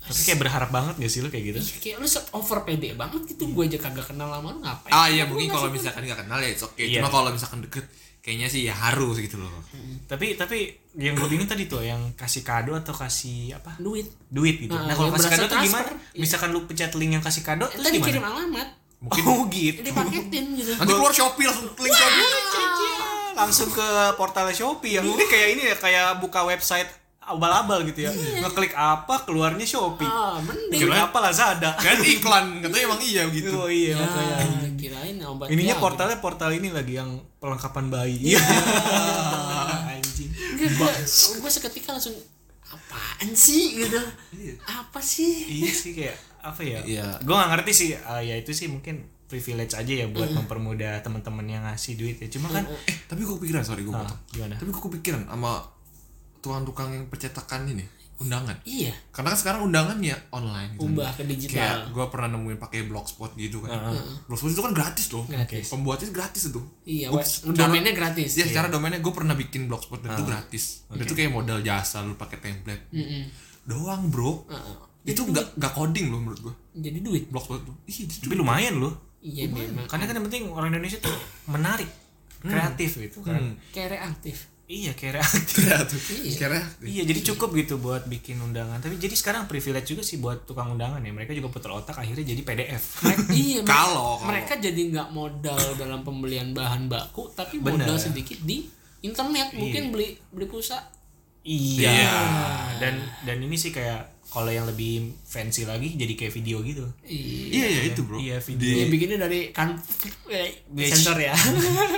tapi kayak berharap banget gak sih lo kayak gitu kayak lu set over pede banget gitu gue aja kagak kenal lama lu ngapain ah iya mungkin kalau misalkan nggak kenal ya it's okay Iya. cuma kalau misalkan deket kayaknya sih ya harus gitu loh tapi tapi yang gue bingung tadi tuh yang kasih kado atau kasih apa duit duit gitu nah, Nah, kalau yang kasih kado berasa tuh gimana transfer. Iya. misalkan lu pencet link yang kasih kado terus tadi kirim gimana alamat mungkin oh gitu dipaketin gitu nanti keluar shopee langsung link shopee Iya, langsung ke portal Shopee yang Iya. mungkin kayak ini ya kayak buka website abal-abal gitu ya ngeklik apa keluarnya Shopee Iya. ah mending klik apa Lazada kan iklan katanya emang iya gitu oh iya Ya, makanya. kirain obat ininya ya, portalnya portal ini lagi yang perlengkapan bayi iya [laughs] anjing gue seketika langsung apaan sih gitu apa sih iya sih kayak apa ya Iya. gue gak ngerti sih Ah, ya itu sih mungkin privilege aja ya buat mempermudah teman-teman yang ngasih duit ya cuma kan eh tapi gue kepikiran sorry gue Ah, potong gimana tapi gue kepikiran sama tuang tukang yang percetakan ini undangan iya karena kan sekarang undangannya online gitu. ubah ke kayak digital gue pernah nemuin pakai blogspot gitu kan blogspot itu kan gratis loh Gratis. pembuatnya gratis itu iya Gua- web domainnya gratis ya secara domainnya gue pernah bikin blogspot dan itu gratis Dan itu kayak modal jasa lu pakai template Mm-mm. doang bro Heeh. itu nggak nggak coding loh menurut gue jadi duit blogspot tuh iya [laughs] itu tapi lumayan loh iya Mm. memang karena kan yang penting orang Indonesia tuh menarik kreatif gitu kan [laughs] kayak reaktif Iya kayak reaktif. Iya. Kira Iya, jadi cukup gitu buat bikin undangan. Tapi jadi sekarang privilege juga sih buat tukang undangan ya. Mereka juga putar otak akhirnya jadi [laughs] PDF. Mereka- iya, mereka- Kalau- kalau. mereka jadi nggak modal dalam pembelian bahan baku, tapi modal Bener. sedikit di internet mungkin beli beli pulsa. iya. Iya. Dan dan ini sih kayak kalau yang lebih fancy lagi jadi kayak video gitu. Iya. Iya, iya itu, Bro. Iya, Dia video. bikinnya dari kan eh, sensor Sensor ya.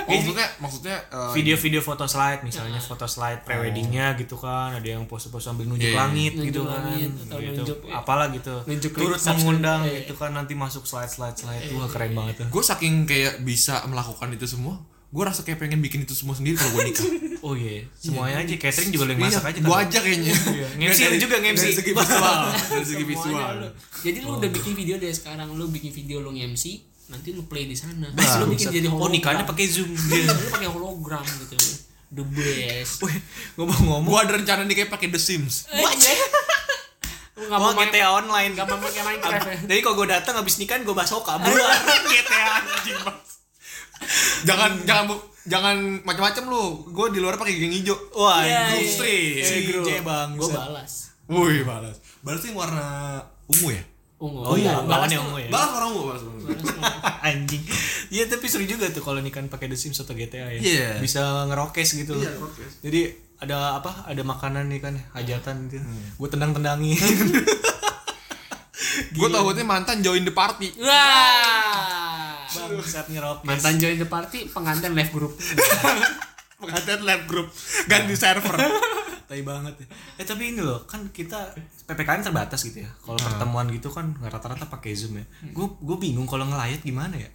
Oh, maksudnya maksudnya Oh, eh, Video-video foto slide misalnya Ah. foto slide preweddingnya gitu kan, ada yang pose-pose sambil nunjuk Iya, iya. langit Nunjuk gitu kan. langit atau gitu. nunjuk- apalah gitu. nunjuk iya. Turut link mengundang subscribe. gitu kan nanti masuk slide-slide slide. Iya. Wah, keren banget tuh. gue saking kayak bisa melakukan itu semua gue rasa kayak pengen bikin itu semua sendiri kalau gue [laughs] nikah Iya, Oh iya, semuanya aja catering juga boleh masak aja. gue kan? aja Iya, kayaknya Ngemsi Dari- juga, ngemsi. dari segi visual [laughs] dari segi visual Semuanya lu. Jadi lu Oh. udah bikin video dari sekarang, lu bikin video lu MC, nanti lu play di sana. Bah, lu bikin buset. jadi Oh, hologram. nikahnya pakai Zoom. [laughs] Iya, lu pakai hologram gitu. The best. Eh, Weh, ngomong-ngomong. gue ada rencana nih kayak pakai The Sims iya. Lu nggak Oh, mau main GTA online. nggak mau pakai Iya. Minecraft ya? Jadi kalau gue datang habis nikahan gue basoka [laughs] bulan GTA anjing Mas. jangan jangan bu- jangan macam-macam lu gue di luar pakai geng hijau Wah, Iya, yeah, iya. istri. Iya, Si grup. J bang. Gue balas. wih balas balas tuh yang warna ungu ya Ungu. Oh iya, balas lawannya tuh- ungu ya. balas warna ungu balas warna ungu [laughs] balas tuh. [laughs] Anjing. Iya, tapi seru juga tuh kalau nikahan pakai The Sims atau GTA ya. Iya. Bisa ngerokes gitu. Iya, ngerokes. Jadi ada apa? Ada makanan nih kan, hajatan gitu. Gue [laughs] tendang-tendangin. gue tau gue mantan join the party Wah. Bangsat ngerokes. Mantan join the party, pengantin live group. pengantin lab [laughs] group ganti [laughs] server tai banget ya. Eh tapi ini loh, kan kita PPKM terbatas gitu ya. Kalau pertemuan gitu kan rata-rata pakai Zoom ya. Gue gue bingung kalau ngelayat gimana ya?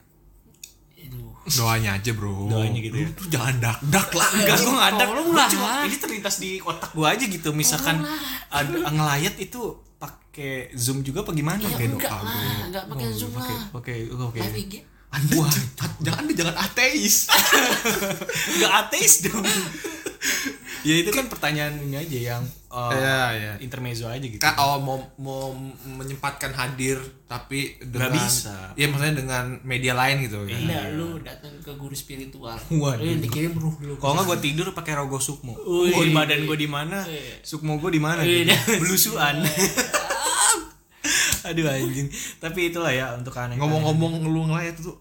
Aduh. doanya Iya. aja bro Doanya gitu ya. Lu tuh jangan dak dak lah Enggak gue ngadak. tolong Gua lah. cuma ini terlintas di otak gue aja gitu. Misalkan ada [laughs] ngelayat itu pakai Zoom juga apa gimana? Ya Kayak enggak doa gua. lah, enggak pakai Oh, Zoom Iya, pakai- lah. Oke, oke. Live IG. Anda jangan, jangan jangan ateis Enggak ateis dong. ya itu kan pertanyaannya aja yang uh, Iya, iya. intermezzo aja gitu. Kak, oh, mau mau menyempatkan hadir tapi dengan bisa. Iya maksudnya dengan media lain gitu kan. Enggak, lu datang ke guru spiritual. Waduh. Lu yang dikirim ruh lu. Kalau nggak gue tidur pakai rogo sukmo. Wih. Oh, badan gue di mana? Iya. Sukmo gue di mana? Iya. Gitu. Belusuan. [laughs] Aduh anjing. Tapi itulah ya untuk aneh. Ngomong-ngomong lu ngelayat itu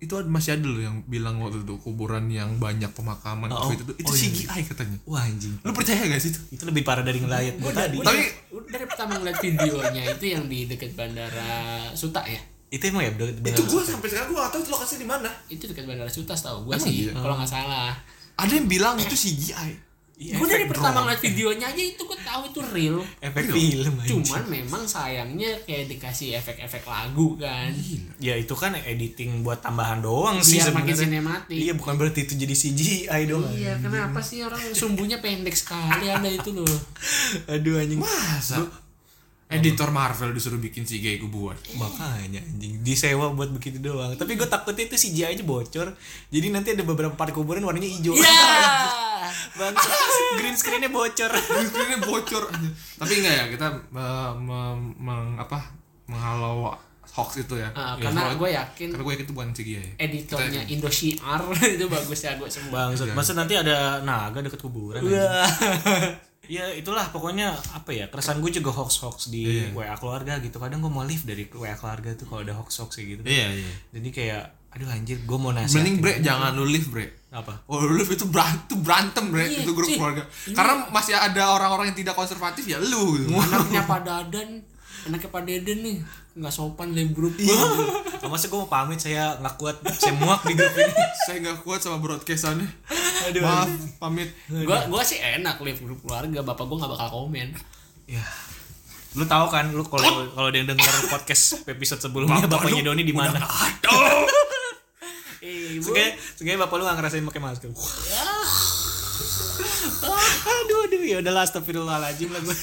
itu ada- masih ada loh yang bilang waktu itu kuburan yang banyak pemakaman Oh, COVID itu itu oh, iya. CGI katanya. wah anjing. Lu percaya gak sih itu? Itu lebih parah dari ngelayat gue tadi. udah. Tapi- Udah dari pertama ngeliat videonya itu yang di dekat bandara Suta ya. Itu emang ya bener- bener- sampai sekarang gua gak tahu itu lokasi di mana. Itu dekat bandara Suta tahu gua sih, kalau nggak salah. Ada yang bilang itu CGI. Iya, Gue dari efek pertama drone. ngeliat videonya aja itu gue tahu itu real. efek film anjing. Cuman memang sayangnya kayak dikasih efek-efek lagu kan. ya itu kan editing buat tambahan doang sih Biar makin sebenarnya. sinematik. Iya bukan berarti itu jadi CGI dong. Iya, kenapa sih orang [laughs] sumbunya pendek sekali ada itu [laughs] loh. Aduh anjing. Masa editor Marvel disuruh bikin CGI kuburan. makanya anjing disewa buat begitu doang tapi gue takutnya itu CGI aja bocor jadi nanti ada beberapa part kuburan warnanya hijau Iya. Bangsat, [laughs] green screennya bocor Ini bocor aja. Tapi enggak ya kita me- me- meng- apa menghalau hoax itu ya. Ah, Ya, karena soalnya- gue yakin Eh, karena gue yakin itu bukan CGI. ya. editornya Indosiar [laughs] itu bagus ya gue semua. Bangsat, masa nanti ada naga deket kuburan anjing. [laughs] ya itulah pokoknya apa ya keresahan gue juga hoax hoax di WA keluarga gitu kadang gue mau live dari WA keluarga tuh kalau ada hoax hoax kayak gitu Iya iya. jadi kayak aduh anjir gue mau Mending nasihatin bre jangan lu leave bre. apa Oh lu leave itu berantem, itu berantem bre Iya, itu grup cuy. keluarga. Karena masih ada orang-orang yang tidak konservatif ya lu. gitu. Anaknya Pak Dadan, anaknya Pak Deden nih nggak sopan di grup. Oh, masa gue mau pamit saya nggak kuat saya muak di grup ini [laughs] Saya nggak kuat sama broadcastannya. Aduh, Maaf pamit. Gue gue sih enak live grup keluarga, bapak gue nggak bakal komen. Ya. Lu tahu kan lu kalau kalau ada yang dengar podcast episode sebelumnya bapaknya Doni di mana? [laughs] Eh, ibu. Seenggaknya seenggaknya bapak lu gak ngerasain pakai masker. aduh aduh ya udah astagfirullahalazim lah gue.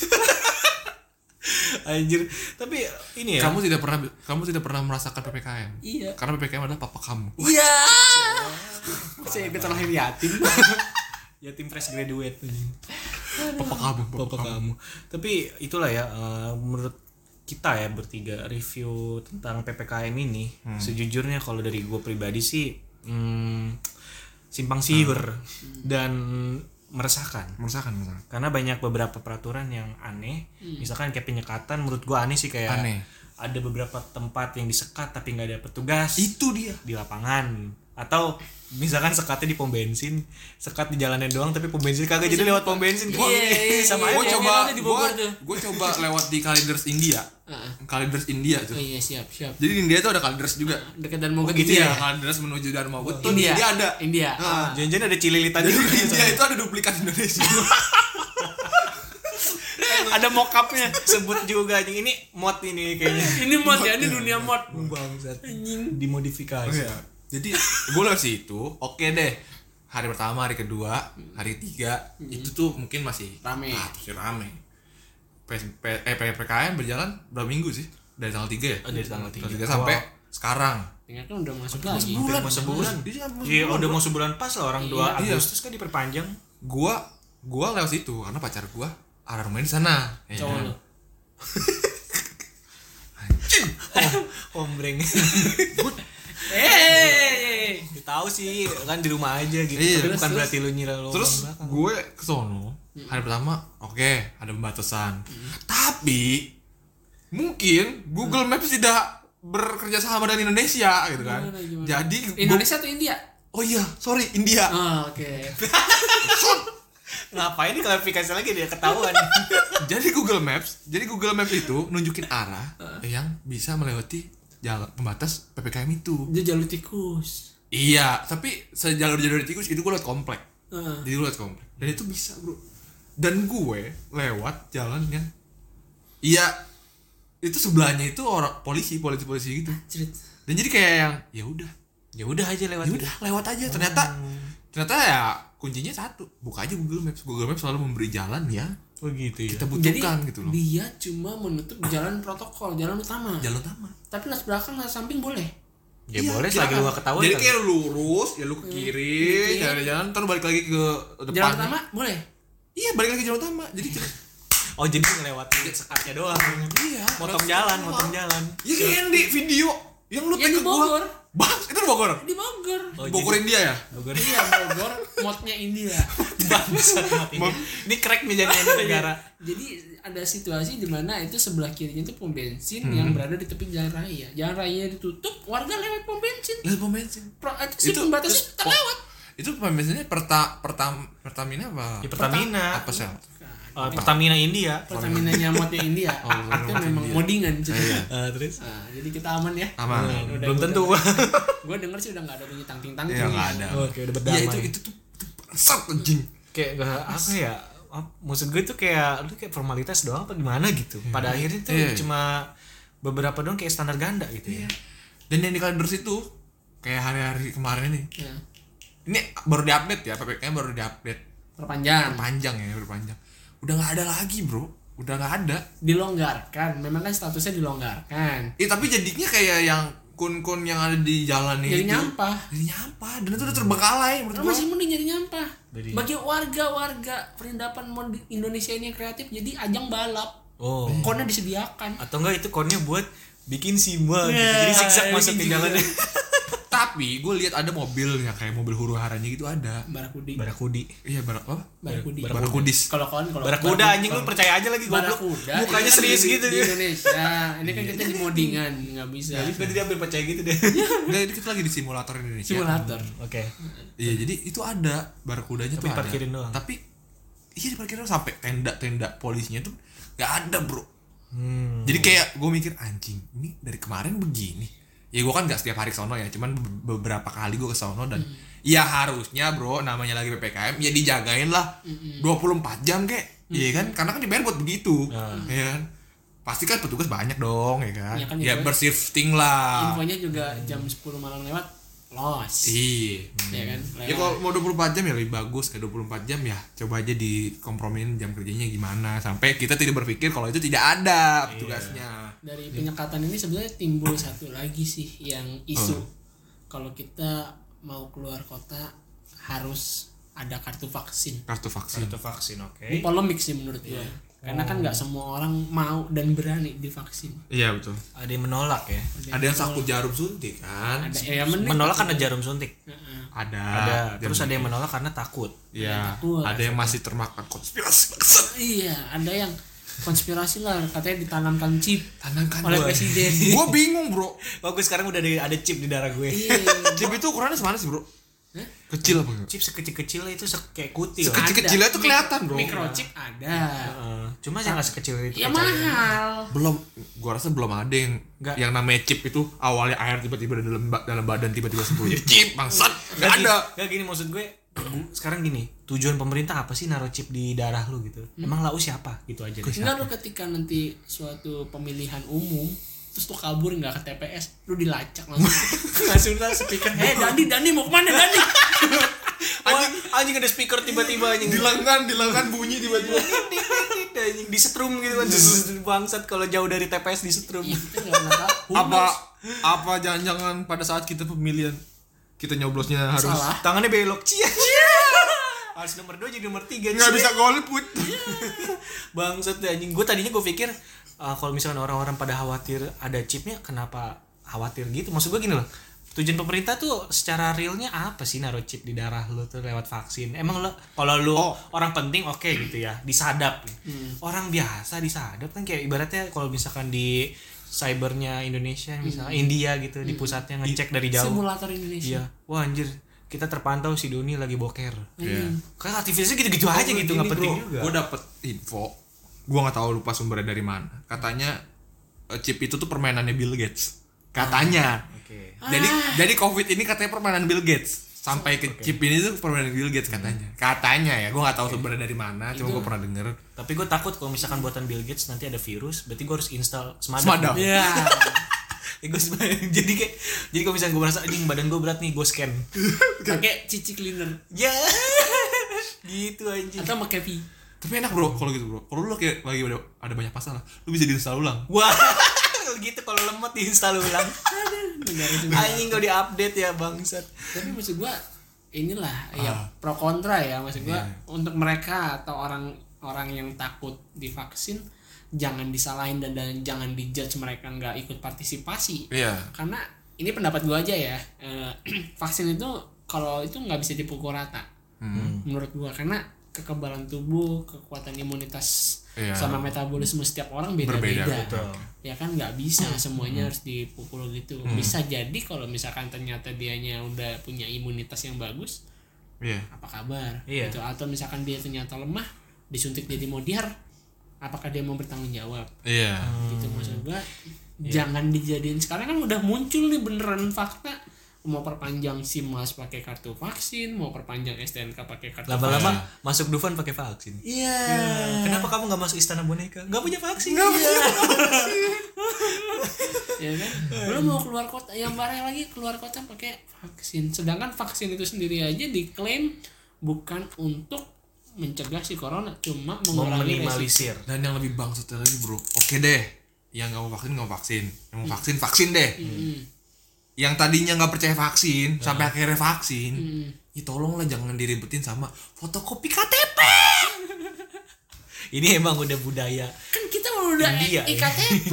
Anjir, tapi ini ya. Kamu tidak pernah kamu tidak pernah merasakan PPKM. Iya. Karena PPKM adalah papa kamu. Iya. Saya ikut lahir [laughs] yatim. ya tim fresh graduate Papa kamu. Papa, bapak kamu. Tapi itulah ya eh, menurut kita ya bertiga review tentang PPKM ini. Sejujurnya kalau Hmm. dari gue pribadi sih hmm, simpang siur dan meresahkan meresahkan misalnya karena banyak beberapa peraturan yang aneh Hmm. misalkan kayak penyekatan menurut gua aneh sih kayak Aneh. ada beberapa tempat yang disekat tapi nggak ada petugas itu dia di lapangan atau misalkan sekatnya di pom bensin sekat di jalanan doang tapi pom bensin kagak jadi lewat pom bensin Iya, iya, iya. sama gue yang aja coba ada di gue Bogor tuh. Iya. coba lewat di Calendars India Heeh. Calendars India Ah, oh tuh iya siap siap jadi di India tuh ada Calendars juga dekat dan mau gitu ya, ya Iya. Calendars menuju Dharma Wut tuh India di India ada India Heeh. janjian ada cililitan Ah. jadi [laughs] gitu. juga di India itu ada duplikat Indonesia ada mockupnya sebut juga anjing ini mod ini kayaknya ini mod ya ini dunia mod bangsat dimodifikasi Iya. Jadi gue lewat situ, oke deh. Hari pertama, hari kedua, hari ketiga itu tuh mungkin masih Rame. Ah, pasti rame. PS, P- eh, P- PPKM berjalan berapa minggu sih? Dari tanggal 3 ya? Oh, dari tanggal 3. sampai sekarang. ternyata kan udah masuk lagi Hampir mau sebulan Iya, hampir Iya udah mau sebulan pas lah orang 2 Iya. Agustus kan diperpanjang Gua gua lewat situ karena pacar gua ada rumahnya di sana. Ya. cowok lu [laughs] Ombreng eh Tahu sih kan di rumah aja gitu Iya, Tapi terus, bukan terus. berarti lu nyira lu Terus gue ke sono Hmm. hari pertama oke ada pembatasan. Tapi mungkin Google Maps tidak bekerja sama dengan Indonesia gitu kan. Gimana, gimana? Jadi gua- Indonesia atau India Oh iya, sorry India. Ah, oke Ngapain klarifikasi lagi dia [laughs] ketahuan jadi Google Maps, jadi Google Maps itu nunjukin arah Ah. yang bisa melewati jalan pembatas PPKM itu. dia jalur tikus Iya, tapi sejalur-jalur tikus itu gue liat komplek. Ah. Jadi gue liat komplek. Dan itu bisa bro. Dan gue lewat jalan yang, iya itu sebelahnya itu orang polisi polisi polisi gitu. cerit Dan jadi kayak yang ya udah, Ya udah aja lewat ya udah lewat aja. Ternyata ternyata ya kuncinya satu. Buka aja Google Maps. Google Maps selalu memberi jalan ya Oh gitu ya kita butuhkan gitu loh. dia cuma menutup jalan protokol jalan utama Jalan utama. tapi las belakang las samping boleh Ya Iya, boleh silakan. selagi lu gak ketahuan Jadi kan. kayak lu lurus, ya lu ke kiri, Iya. jalan-jalan, terus balik lagi ke depan. jalan utama boleh Iya, balik lagi ke jalan utama. Jadi kita- Oh jadi ngelewatin sekatnya doang iya, Motong rasa- jalan, motong jalan Iya kayak yang di video yang lu Yang take di ke gua. Bogor. Bang, itu di Bogor. di Bogor Oh, Bogor jadi- India ya? Bogor iya Bogor [laughs] modnya India Bangsat mati dia. Ini crack nih jadinya negara jadi ada situasi di mana itu sebelah kirinya itu pom bensin yang berada di tepi jalan raya jalan raya ditutup warga lewat pom bensin Lihat pom bensin. Pro, eh, itu sih Itu- pembatasnya terus Oh. tak pom- lewat Itu pom bensinnya perta pertam pertamina apa? Di Ya, Pertamina Apa sel? Iya. Eh, Pertamina India Pertamina nyamotnya India artinya memang modingan ceritanya. Eh, Terus Nah, jadi kita aman ya Aman. Udah, belum udah. tentu gue denger sih udah nggak ada bunyi tangting tangting Iya, enggak ada. Oke, Oh, udah Ya berdamai. itu itu tuh itu bangsat anjing. [laughs] kayak gak- apa ya? Ap- Maksud gue itu kayak lu kayak formalitas doang apa gimana gitu. Pada akhirnya tuh Iya. cuma beberapa doang kayak standar ganda gitu ya. Dan yang di kalender situ kayak hari-hari kemarin ini. Iya. Ini baru diupdate ya, PPKM baru diupdate. perpanjang panjang ya berpanjang udah nggak ada lagi bro udah nggak ada dilonggarkan memang kan statusnya dilonggarkan eh tapi jadinya kayak yang kun-kun yang ada di jalan jadi itu nyampah jadi nyampah dan itu udah terbengkalai menurut Orang gua masih mending jadi nyampah Jadi- bagi warga-warga perindapan mod Indonesia ini yang kreatif jadi ajang balap Oh. Konnya disediakan Atau enggak itu konnya buat bikin simbol gitu. Jadi siksak masuk ke jalannya. [laughs] tapi gue lihat ada mobil yang kayak mobil huru haranya gitu ada Barakudi Barakudi. iya bar apa Barakudi barakudis kalau kon kalau Barakuda anjing lu percaya aja lagi goblok. Barakuda Mukanya ini kan serius di- gitu. di [laughs] Indonesia ini kan kita di modingan nggak bisa Tadi dia hampir percaya gitu deh. nggak ini kita lagi di simulator Indonesia simulator Oke. iya jadi itu ada barakudanya Tapi tuh ada. parkirin doang. tapi iya di parkirin doang, sampai tenda-tenda polisinya tuh nggak ada bro Hmm. Jadi kayak gue mikir anjing, ini dari kemarin begini. Ya gue kan gak setiap hari ke sono ya, cuman be- beberapa kali gue ke sono dan ya harusnya bro namanya lagi PPKM ya dijagain lah 24 jam kek. Iya kan? Karena kan dibayar buat begitu. Iya kan? Pasti kan petugas banyak dong ya kan. Nah. Iya kan, ya iya. bershifting lah. infonya juga jam 10 malam lewat los Iya. ya kan Ya kalau Lewat. mau 24 jam ya lebih bagus kayak 24 jam ya coba aja dikompromiin jam kerjanya gimana sampai kita tidak berpikir kalau itu tidak Iya. ada petugasnya. dari penyekatan ini sebenarnya timbul satu lagi sih yang isu Hmm. kalau kita mau keluar kota harus ada kartu vaksin Kartu vaksin. Itu vaksin, oke. ini polemik sih menurut gue Iya. karena kan Oh. nggak semua orang mau dan berani divaksin Iya betul. Ada yang menolak ya. ada yang sakut jarum suntik kan ada ya mending gitu. Menolak karena jarum suntik. Heeh. ada, ada terus ada yang menolak karena takut ya Takut. ada yang masih termakan konspirasi bangsat. iya ada yang konspirasi lah katanya ditanamkan chip tanamkan oleh gua. [laughs] presiden gua bingung bro oh gue sekarang udah ada, ada chip di darah gue iya chip itu ukurannya semana sih bro Hah? kecil apa enggak chip sekecil-kecil itu se- kayak kutil Sekecil- Kecil-kecilnya tuh kelihatan, bro. Iya. microchip ada Heeh. cuma yang nggak sekecil itu percaya. ya mahal belum gua rasa belum ada yang Nggak. yang namanya chip itu awalnya air tiba-tiba dalam ba- dalam badan tiba-tiba sepuluh jadi chip bangsat nggak Gak ada gini maksud gue bu, sekarang gini tujuan pemerintah apa sih naruh chip di darah lu gitu Hmm. emang lau siapa gitu aja [laughs] deh. enggak lu ketika nanti suatu pemilihan umum terus tuh kabur nggak ke TPS lu dilacak [laughs] langsung langsung kita speaker eh Dandi Dandi mau kemana Dandi anjing anjing ada speaker tiba-tiba anjing di lengan di lengan bunyi tiba-tiba anjing disetrum gitu kan Zzz, bangsat kalau jauh dari TPS disetrum Iya, kita nggak pernah tahu. Who apa knows? apa jangan-jangan pada saat kita pemilihan kita nyoblosnya harus Salah. tangannya belok cia harus nomor 2 jadi nomor 3 nggak bisa golput bangsat deh, anjing gue tadinya gue pikir uh, kalau misalnya orang-orang pada khawatir ada chipnya kenapa khawatir gitu maksud gue gini loh tujuan pemerintah tuh secara realnya apa sih naruh chip di darah lu tuh lewat vaksin emang lo kalau lu orang penting oke gitu ya disadap orang biasa disadap kan kayak ibaratnya kalau misalkan di cybernya Indonesia misalnya India gitu di pusatnya ngecek dari jauh simulator Indonesia iya wah anjir kita terpantau si Doni lagi boker Iya. kan aktivitasnya gitu-gitu aja Oh, gitu nggak penting juga gue dapet info gue nggak tahu lupa sumbernya dari mana katanya eh, chip itu tuh permainannya Bill Gates katanya Oke. jadi jadi covid ini katanya permainan Bill Gates sampai ke chip ini tuh permainan Bill Gates katanya katanya ya gue nggak tahu sumbernya dari mana cuma gue pernah denger Tapi gue takut kalau misalkan buatan Bill Gates nanti ada virus, berarti gue harus install Smada. Smada. [laughs] Iya. [laughs] Ya, gua sebagai- jadi kayak jadi kalau misalnya gue merasa anjing badan gue berat nih, gue scan. [laughs] pakai cici cleaner Ya. gitu anjing. atau pakai pi tapi enak bro kalau gitu bro kalau lu kayak lagi ada, ada banyak masalah lu bisa diinstal ulang Wah. [laughs] gitu kalau lemot diinstal ulang. negara itu anjing kalau diupdate ya bangsat. tapi maksud gua inilah ya pro kontra ya maksud gua untuk mereka atau orang orang yang takut divaksin jangan disalahin dan, dan jangan dijudge mereka nggak ikut partisipasi iya karena ini pendapat gua aja ya eh, [clears throat] vaksin itu kalau itu nggak bisa dipukul rata Hmm. menurut gua karena kekebalan tubuh kekuatan imunitas Iya. sama metabolisme setiap orang Berbeda, beda-beda betul. ya kan nggak bisa semuanya harus dipukul gitu Hmm. bisa jadi kalau misalkan ternyata dianya udah punya imunitas yang bagus iya apa kabar Iya. gitu atau misalkan dia ternyata lemah disuntik jadi modiar apakah dia mau bertanggung jawab iya gitu maksud gua jangan dijadiin sekarang kan udah muncul nih beneran fakta mau perpanjang SIMAS pakai kartu vaksin mau perpanjang STNK pakai kartu Lama-lama masuk Dufan pakai vaksin. vaksin. iya Kenapa kamu nggak masuk istana boneka? Nggak punya Iya. vaksin. ya kan lu mau keluar kota yang barang lagi keluar kota pakai vaksin sedangkan vaksin itu sendiri aja diklaim bukan untuk mencegah si corona cuma Mau mengurangi resiko minimalisir. Dan yang lebih bangsatnya lagi bro, oke deh, yang nggak mau vaksin nggak mau vaksin, yang mau vaksin vaksin deh. Hmm. Yang tadinya nggak percaya Nah. vaksin sampai akhirnya vaksin, Hmm. ya tolonglah jangan diribetin sama fotokopi KTP. Ini emang udah budaya. kan kita udah India, ya. iktp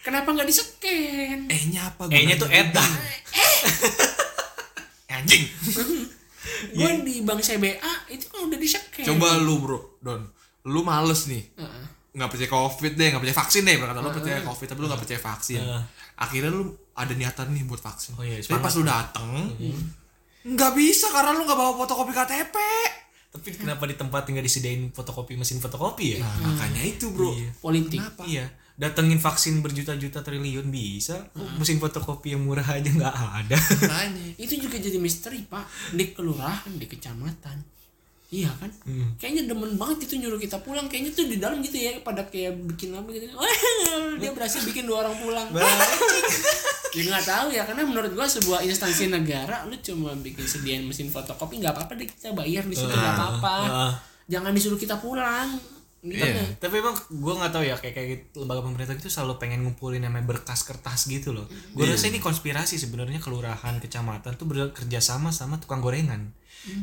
kenapa nggak di scan Eh nya apa? gunanya? Kayaknya tuh edan. Eh, [laughs] anjing. gue di bank CBA itu kan udah di scan Coba lu bro, Don, lu males nih, Heeh. nggak percaya covid deh, nggak percaya vaksin deh, berkata lu percaya covid tapi lu nggak percaya vaksin. Akhirnya lu ada niatan nih buat vaksin. Oh iya, tapi pas lu dateng, nggak bisa karena lu nggak bawa fotokopi KTP. Tapi kenapa di tempat nggak disediain fotokopi mesin fotokopi ya? Nah, makanya itu bro Iya. politik Iya, datengin vaksin berjuta-juta triliun bisa. Kok Mesin fotokopi yang murah aja nggak ada. makanya itu juga jadi misteri pak di kelurahan di kecamatan iya kan Hmm. kayaknya demen banget itu nyuruh kita pulang kayaknya tuh di dalam gitu ya pada kayak bikin apa gitu [laughs] dia berhasil bikin dua orang pulang [laughs] ya nggak tahu ya karena menurut gua sebuah instansi negara lu cuma bikin sediain mesin fotokopi nggak apa-apa deh kita bayar di situ nggak apa-apa ah. jangan disuruh kita pulang Gitu Iya. kan. Tapi emang gue nggak tahu ya kayak kayak gitu, lembaga pemerintah itu selalu pengen ngumpulin namanya berkas kertas gitu loh. Gue rasa ini konspirasi sebenarnya kelurahan kecamatan tuh bekerja sama sama tukang gorengan.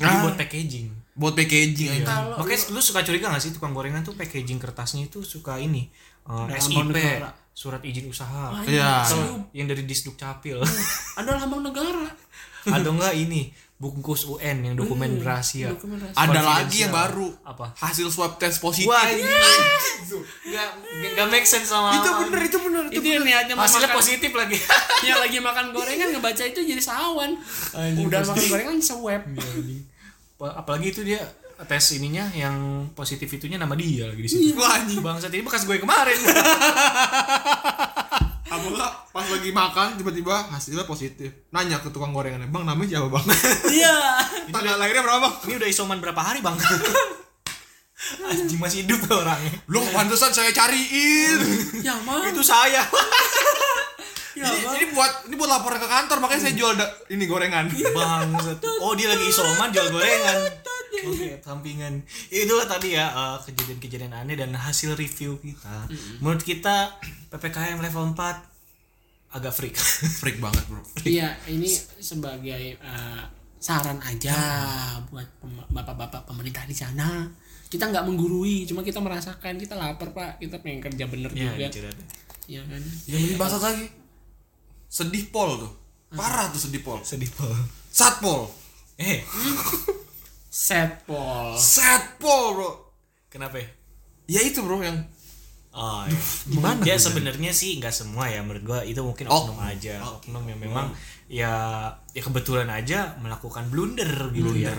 Jadi Ah. buat packaging. buat packaging Iya. aja Kalau Makanya Hmm. lu suka curiga gak sih tukang gorengan tuh packaging kertasnya itu suka ini uh, SIP, lambang negara. surat izin usaha. Banyak. Iya. Atau yang dari Disduk Capil. ada lambang negara [laughs] Atau enggak ini bungkus UN yang Hmm, dokumen rahasia. Dokumen rahasia. Ada Konfidensial. lagi yang baru. Apa? Hasil swab test positif. Wah, iya. Anjing, Enggak enggak make sense sama. Itu bener, itu bener, itu itu yang niatnya mau Hasilnya makan positif [laughs] lagi. yang lagi makan gorengan ngebaca itu jadi sawan Anjing, udah pasti. Iya. makan gorengan seweb Wah, Apalagi itu dia tes ininya yang positif itunya nama dia lagi di Iya. situ. Wah, anjing. Bangsa ini bekas [laughs] gue kemarin. Apa enggak pas lagi makan tiba-tiba hasilnya positif. Nanya ke tukang gorengannya, "Bang, namanya siapa, [laughs] Bang?" iya Tanggal lahirnya berapa, Bang? ini udah isoman berapa hari, Bang? [laughs] Anjing masih hidup tuh orangnya. Loh, pantesan saya [laughs] cariin. ya mah Itu saya. ya ini, mah ini buat ini buat laporan ke kantor, makanya saya jual da- ini gorengan. [laughs] Bangsat. Oh, dia lagi isoman jual gorengan. Oke, sampingan. Itulah tadi ya eh, kejadian-kejadian aneh dan hasil review kita. Menurut kita PPKM level 4 agak freak. [laughs] Freak banget, Bro. iya ini sebagai eh, saran aja buat pem- bapak-bapak pemerintah di sana kita nggak menggurui cuma kita merasakan kita lapar pak kita pengen kerja bener ya, juga diceritanya. iya kan Yang ini bahasa lagi. Hmm. Sedih pol tuh. Parah tuh sedih pol. sedih Paul. Satpol. Eh, setpol Satpol, Bro. kenapa ya? Ya itu, Bro, yang Oh, ya. ya sebenarnya sih nggak semua ya menurut gua itu mungkin oknum aja oknum yang memang ya ya kebetulan aja melakukan blunder gitu ya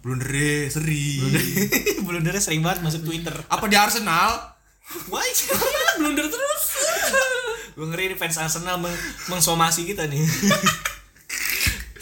blunder seri. [laughs] blundernya sering banget masuk Twitter Apa di Arsenal? why blunder [laughs] terus gue ngeri nih fans Arsenal meng mengsomasi kita nih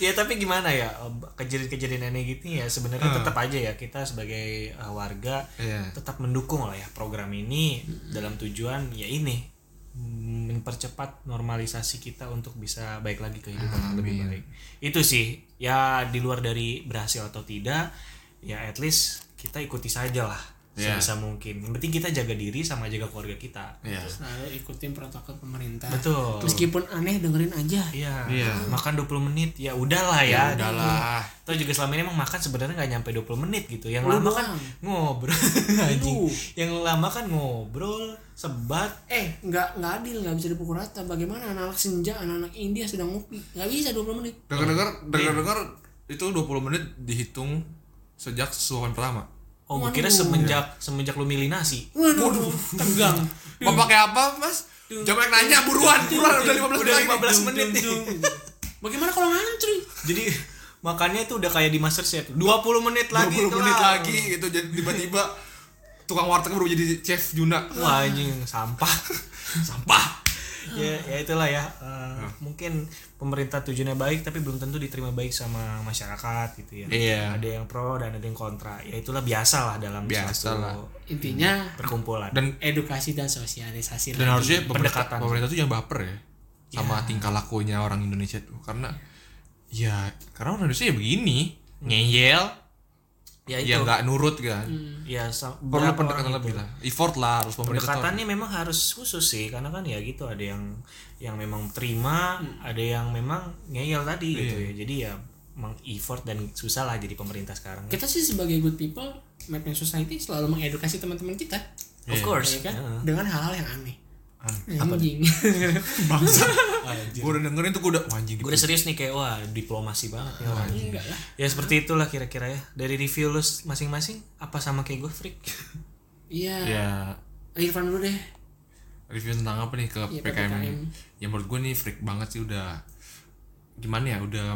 ya tapi gimana ya kejadian-kejadian aneh gitu ya sebenarnya tetap aja ya kita sebagai eh, warga Iya. tetap mendukung lah ya program ini dalam tujuan ya ini mm, mempercepat normalisasi kita untuk bisa baik lagi kehidupan yang lebih baik itu sih ya di luar dari berhasil atau tidak ya at least kita ikuti saja lah Iya. sebisa mungkin yang penting kita jaga diri sama jaga keluarga kita Iya. selalu ikutin protokol pemerintah betul meskipun aneh dengerin aja Iya. Iya. Makan 20 menit ya udahlah ya. Udahlah. Atau juga selama ini emang makan sebenarnya nggak nyampe 20 menit gitu. Yang Lu lama kan doang. ngobrol [laughs] anjing. Yang lama kan ngobrol, sebat. eh nggak nggak adil nggak bisa dipukul rata bagaimana anak-anak senja anak-anak India sedang ngopi nggak bisa 20 menit Dengar-dengar, dengar-dengar itu 20 menit dihitung sejak suapan pertama. Oh, gue kira semenjak semenjak lu milih nasi. waduh tegang Hmm. Mau pakai apa, Mas? Jangan banyak nanya buruan, buruan udah 15 Udah menit. 15 menit nih. bagaimana kalau ngantri [laughs] Jadi makannya tuh udah kayak di MasterChef. 20 menit lagi 20 menit kelar. lagi itu jadi tiba-tiba tukang warteg baru jadi chef Juna. Wah anjing sampah [laughs] sampah ya ya itulah ya Hmm. Eh, mungkin pemerintah tujuannya baik tapi belum tentu diterima baik sama masyarakat gitu ya Iya. ada yang pro dan ada yang kontra ya itulah biasalah dalam Biasalah. suatu intinya perkumpulan Dan edukasi dan sosialisasi dan lagi. harusnya pemerintah, pendekatan. pemerintah tuh jangan baper ya sama tingkah lakunya orang Indonesia tuh karena ya karena orang Indonesia ya begini ngeyel ya itu ya nggak nurut kan ya sa- perlu berapa pendekatan orang lebih itu. lah effort lah harus pemerintah tuh pendekatannya memang harus khusus sih karena kan ya gitu ada yang yang memang terima Hmm. ada yang memang Iya. ngeyel tadi gitu ya jadi ya meng effort dan susah lah jadi pemerintah sekarang kita sih sebagai good people mapping society selalu mengedukasi teman-teman kita of course ya kan Heeh. dengan hal-hal yang aneh Aneh. anjing [laughs] bangsa gue udah dengerin tuh gue udah "Wah, anjing gue udah serius nih kayak wah diplomasi banget nih orang. Iya, enggak lah ya seperti itulah kira-kira ya dari review lu masing-masing apa sama kayak gue freak iya ya Irfan dulu deh review tentang apa nih ke Iya, PKM, ini? PPKM. ya menurut gue nih freak banget sih udah gimana ya udah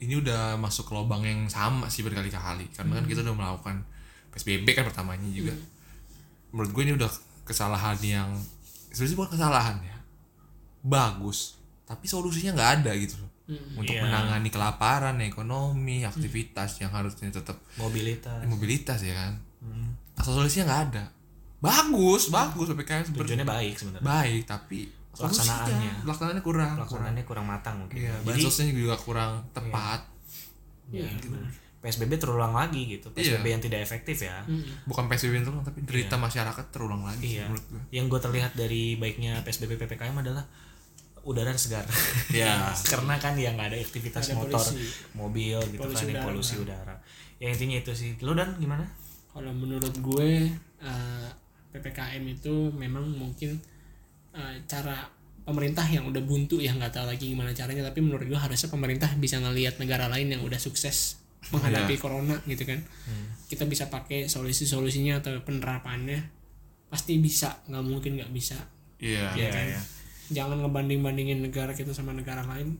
ini udah masuk ke lubang yang sama sih berkali-kali karena kan kita udah melakukan PSBB kan pertamanya juga menurut gue ini udah kesalahan yang sebenarnya bukan kesalahan ya bagus tapi solusinya nggak ada gitu loh untuk Iya. menangani kelaparan ekonomi aktivitas yang harusnya tetap mobilitas mobilitas ya kan asal solusinya nggak ada bagus bagus PPKM sebenarnya tujuannya baik sebenarnya baik tapi Pelaksanaannya. solusinya, pelaksanaannya kurang kurang pelaksanaannya kurang matang mungkin iya jadi bansosnya juga kurang tepat ya, bener. PSBB terulang lagi gitu PSBB yang tidak efektif ya Hmm, bukan PSBB yang terulang tapi derita masyarakat terulang lagi Iya. menurut gue yang gue terlihat dari baiknya PSBB PPKM adalah udara segar Iya. [laughs] karena kan yang nggak ada aktivitas Ada motor polusi. mobil gitu Polusi kan ada udara. polusi udara ya intinya itu sih lu dan gimana kalau menurut gue eh, ppkm itu memang mungkin eh, cara pemerintah yang udah buntu yang nggak tahu lagi gimana caranya tapi menurut gua harusnya pemerintah bisa ngelihat negara lain yang udah sukses menghadapi corona gitu kan kita bisa pakai solusi-solusinya atau penerapannya pasti bisa nggak mungkin nggak bisa Iya. Iya, iya. jangan ngebanding-bandingin negara kita sama negara lain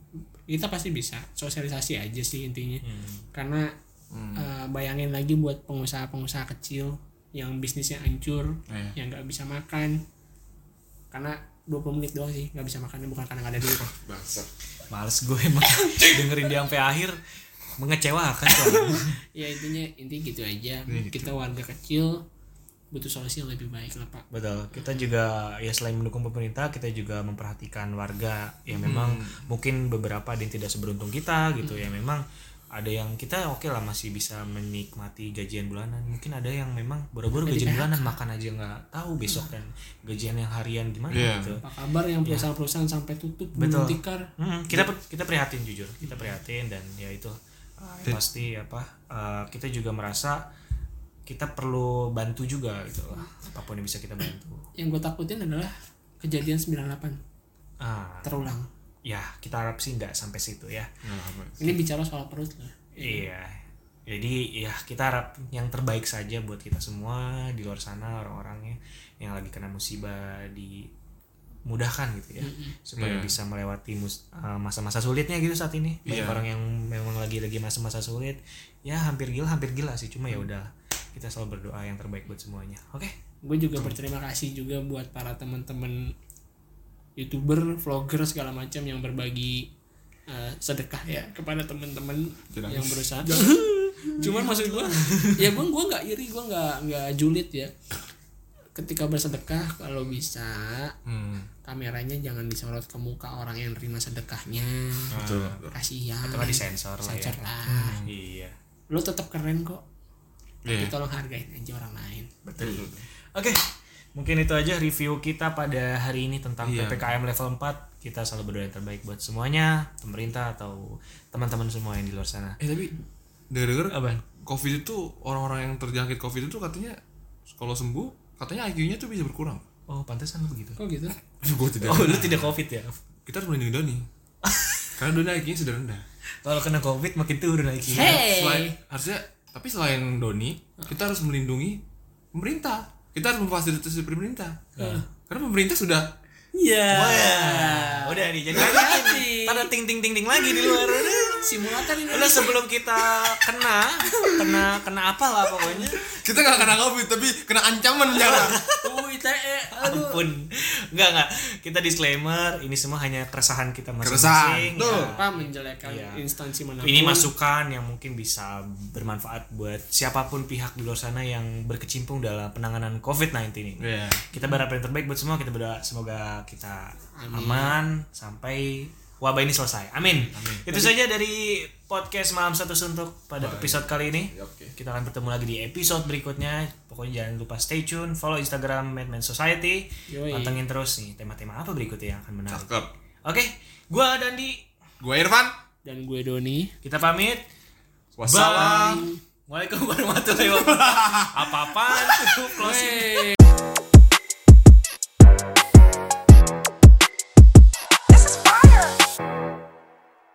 kita pasti bisa sosialisasi aja sih intinya karena eh, bayangin lagi buat pengusaha-pengusaha kecil yang bisnisnya hancur Iya. yang nggak bisa makan karena 20 menit doang sih nggak bisa makan bukan karena nggak ada duit Bangsat. Males gue emang [laughs] dengerin dia sampai akhir mengecewakan soalnya. ya intinya intinya gitu aja kita warga kecil butuh solusi yang lebih baik lah pak Betul. Kita juga ya selain mendukung pemerintah, kita juga memperhatikan warga yang memang mungkin beberapa ada yang tidak seberuntung kita gitu ya. Memang ada yang kita oke lah masih bisa menikmati gajian bulanan. Mungkin ada yang memang boro-boro gajian bulanan makan aja nggak tahu besok dan gajian yang harian gimana Iya. gitu. apa kabar yang perusahaan-perusahaan sampai tutup Betul. gulung tikar Mm, kita per- kita prihatin jujur, kita prihatin dan ya itu uh, ya pasti apa uh, kita juga merasa kita perlu bantu juga gitu lah. Apapun yang bisa kita bantu. yang gue takutin adalah kejadian 98 Ah, terulang ya kita harap sih nggak sampai situ ya ini bicara soal perut lah iya jadi ya kita harap yang terbaik saja buat kita semua di luar sana orang-orangnya yang lagi kena musibah dimudahkan gitu ya supaya Iya. bisa melewati mus- uh, masa-masa sulitnya gitu saat ini banyak Iya. orang yang memang lagi lagi masa-masa sulit ya hampir gila hampir gila sih cuma ya udah kita selalu berdoa yang terbaik buat semuanya oke gue juga berterima kasih juga buat para teman-teman youtuber vlogger segala macam yang berbagi eh, sedekah ya kepada teman-teman Jangan. yang berusaha [laughs] cuman maksud gue ya gue gue nggak iri gue nggak nggak julid ya ketika bersedekah kalau bisa Hmm. kameranya jangan disorot ke muka orang yang terima sedekahnya Ah, Betul. kasihan atau nggak disensor lah ya Sensor lah iya lo tetap keren kok Iya. tapi tolong hargain aja orang lain Betul. Oke, mungkin itu aja review kita pada hari ini tentang Iya. PPKM level 4. Kita selalu berdoa yang terbaik buat semuanya, pemerintah atau teman-teman semua yang di luar sana. Eh tapi dengar Abang. COVID itu orang-orang yang terjangkit COVID itu katanya kalau sembuh katanya IQ-nya tuh bisa berkurang. Oh, pantesan lu begitu. kok gitu Aduh, gua tidak. Oh, lu tidak Covid ya? Kita harus melindungi Doni. Karena Doni IQ-nya sudah rendah. Kalau kena Covid makin turun lagi. Nah, Selain, harusnya tapi selain Doni, kita harus melindungi pemerintah. Kita harus memfasilitasi pemerintah. Nah, Karena pemerintah sudah Iya. Ah, Udah nih, jadi hati-hati. Ntar ada ting ting ting ting lagi di luar. Simulator ini. Udah sebelum kita kena, kena kena apa lah pokoknya. kita nggak kena covid tapi kena ancaman ya. penjara. Oh, ITE. Aduh. Ampun. Enggak enggak. Kita disclaimer, ini semua hanya keresahan kita Keresahan, masing-masing. betul. Ya. Apa menjelekkan Iya. instansi manapun. ini masukan yang mungkin bisa bermanfaat buat siapapun pihak di luar sana yang berkecimpung dalam penanganan COVID-19 ini. Iya. Kita berharap yang terbaik buat semua. Kita berdoa semoga kita Amin. aman sampai wabah ini selesai. Amin. Itu saja dari podcast malam satu suntuk pada episode kali ini. Ya, oke. Kita akan bertemu lagi di episode berikutnya. Pokoknya jangan lupa stay tune, follow Instagram Madman Society. Yoi. Pantengin terus nih tema-tema apa berikutnya yang akan menarik. Cakep. Oke, gua Dandi. Gua Irfan. Dan gue Doni. Kita pamit. Wassalam. Waalaikumsalam warahmatullahi wabarakatuh. Apa-apaan tuh closing?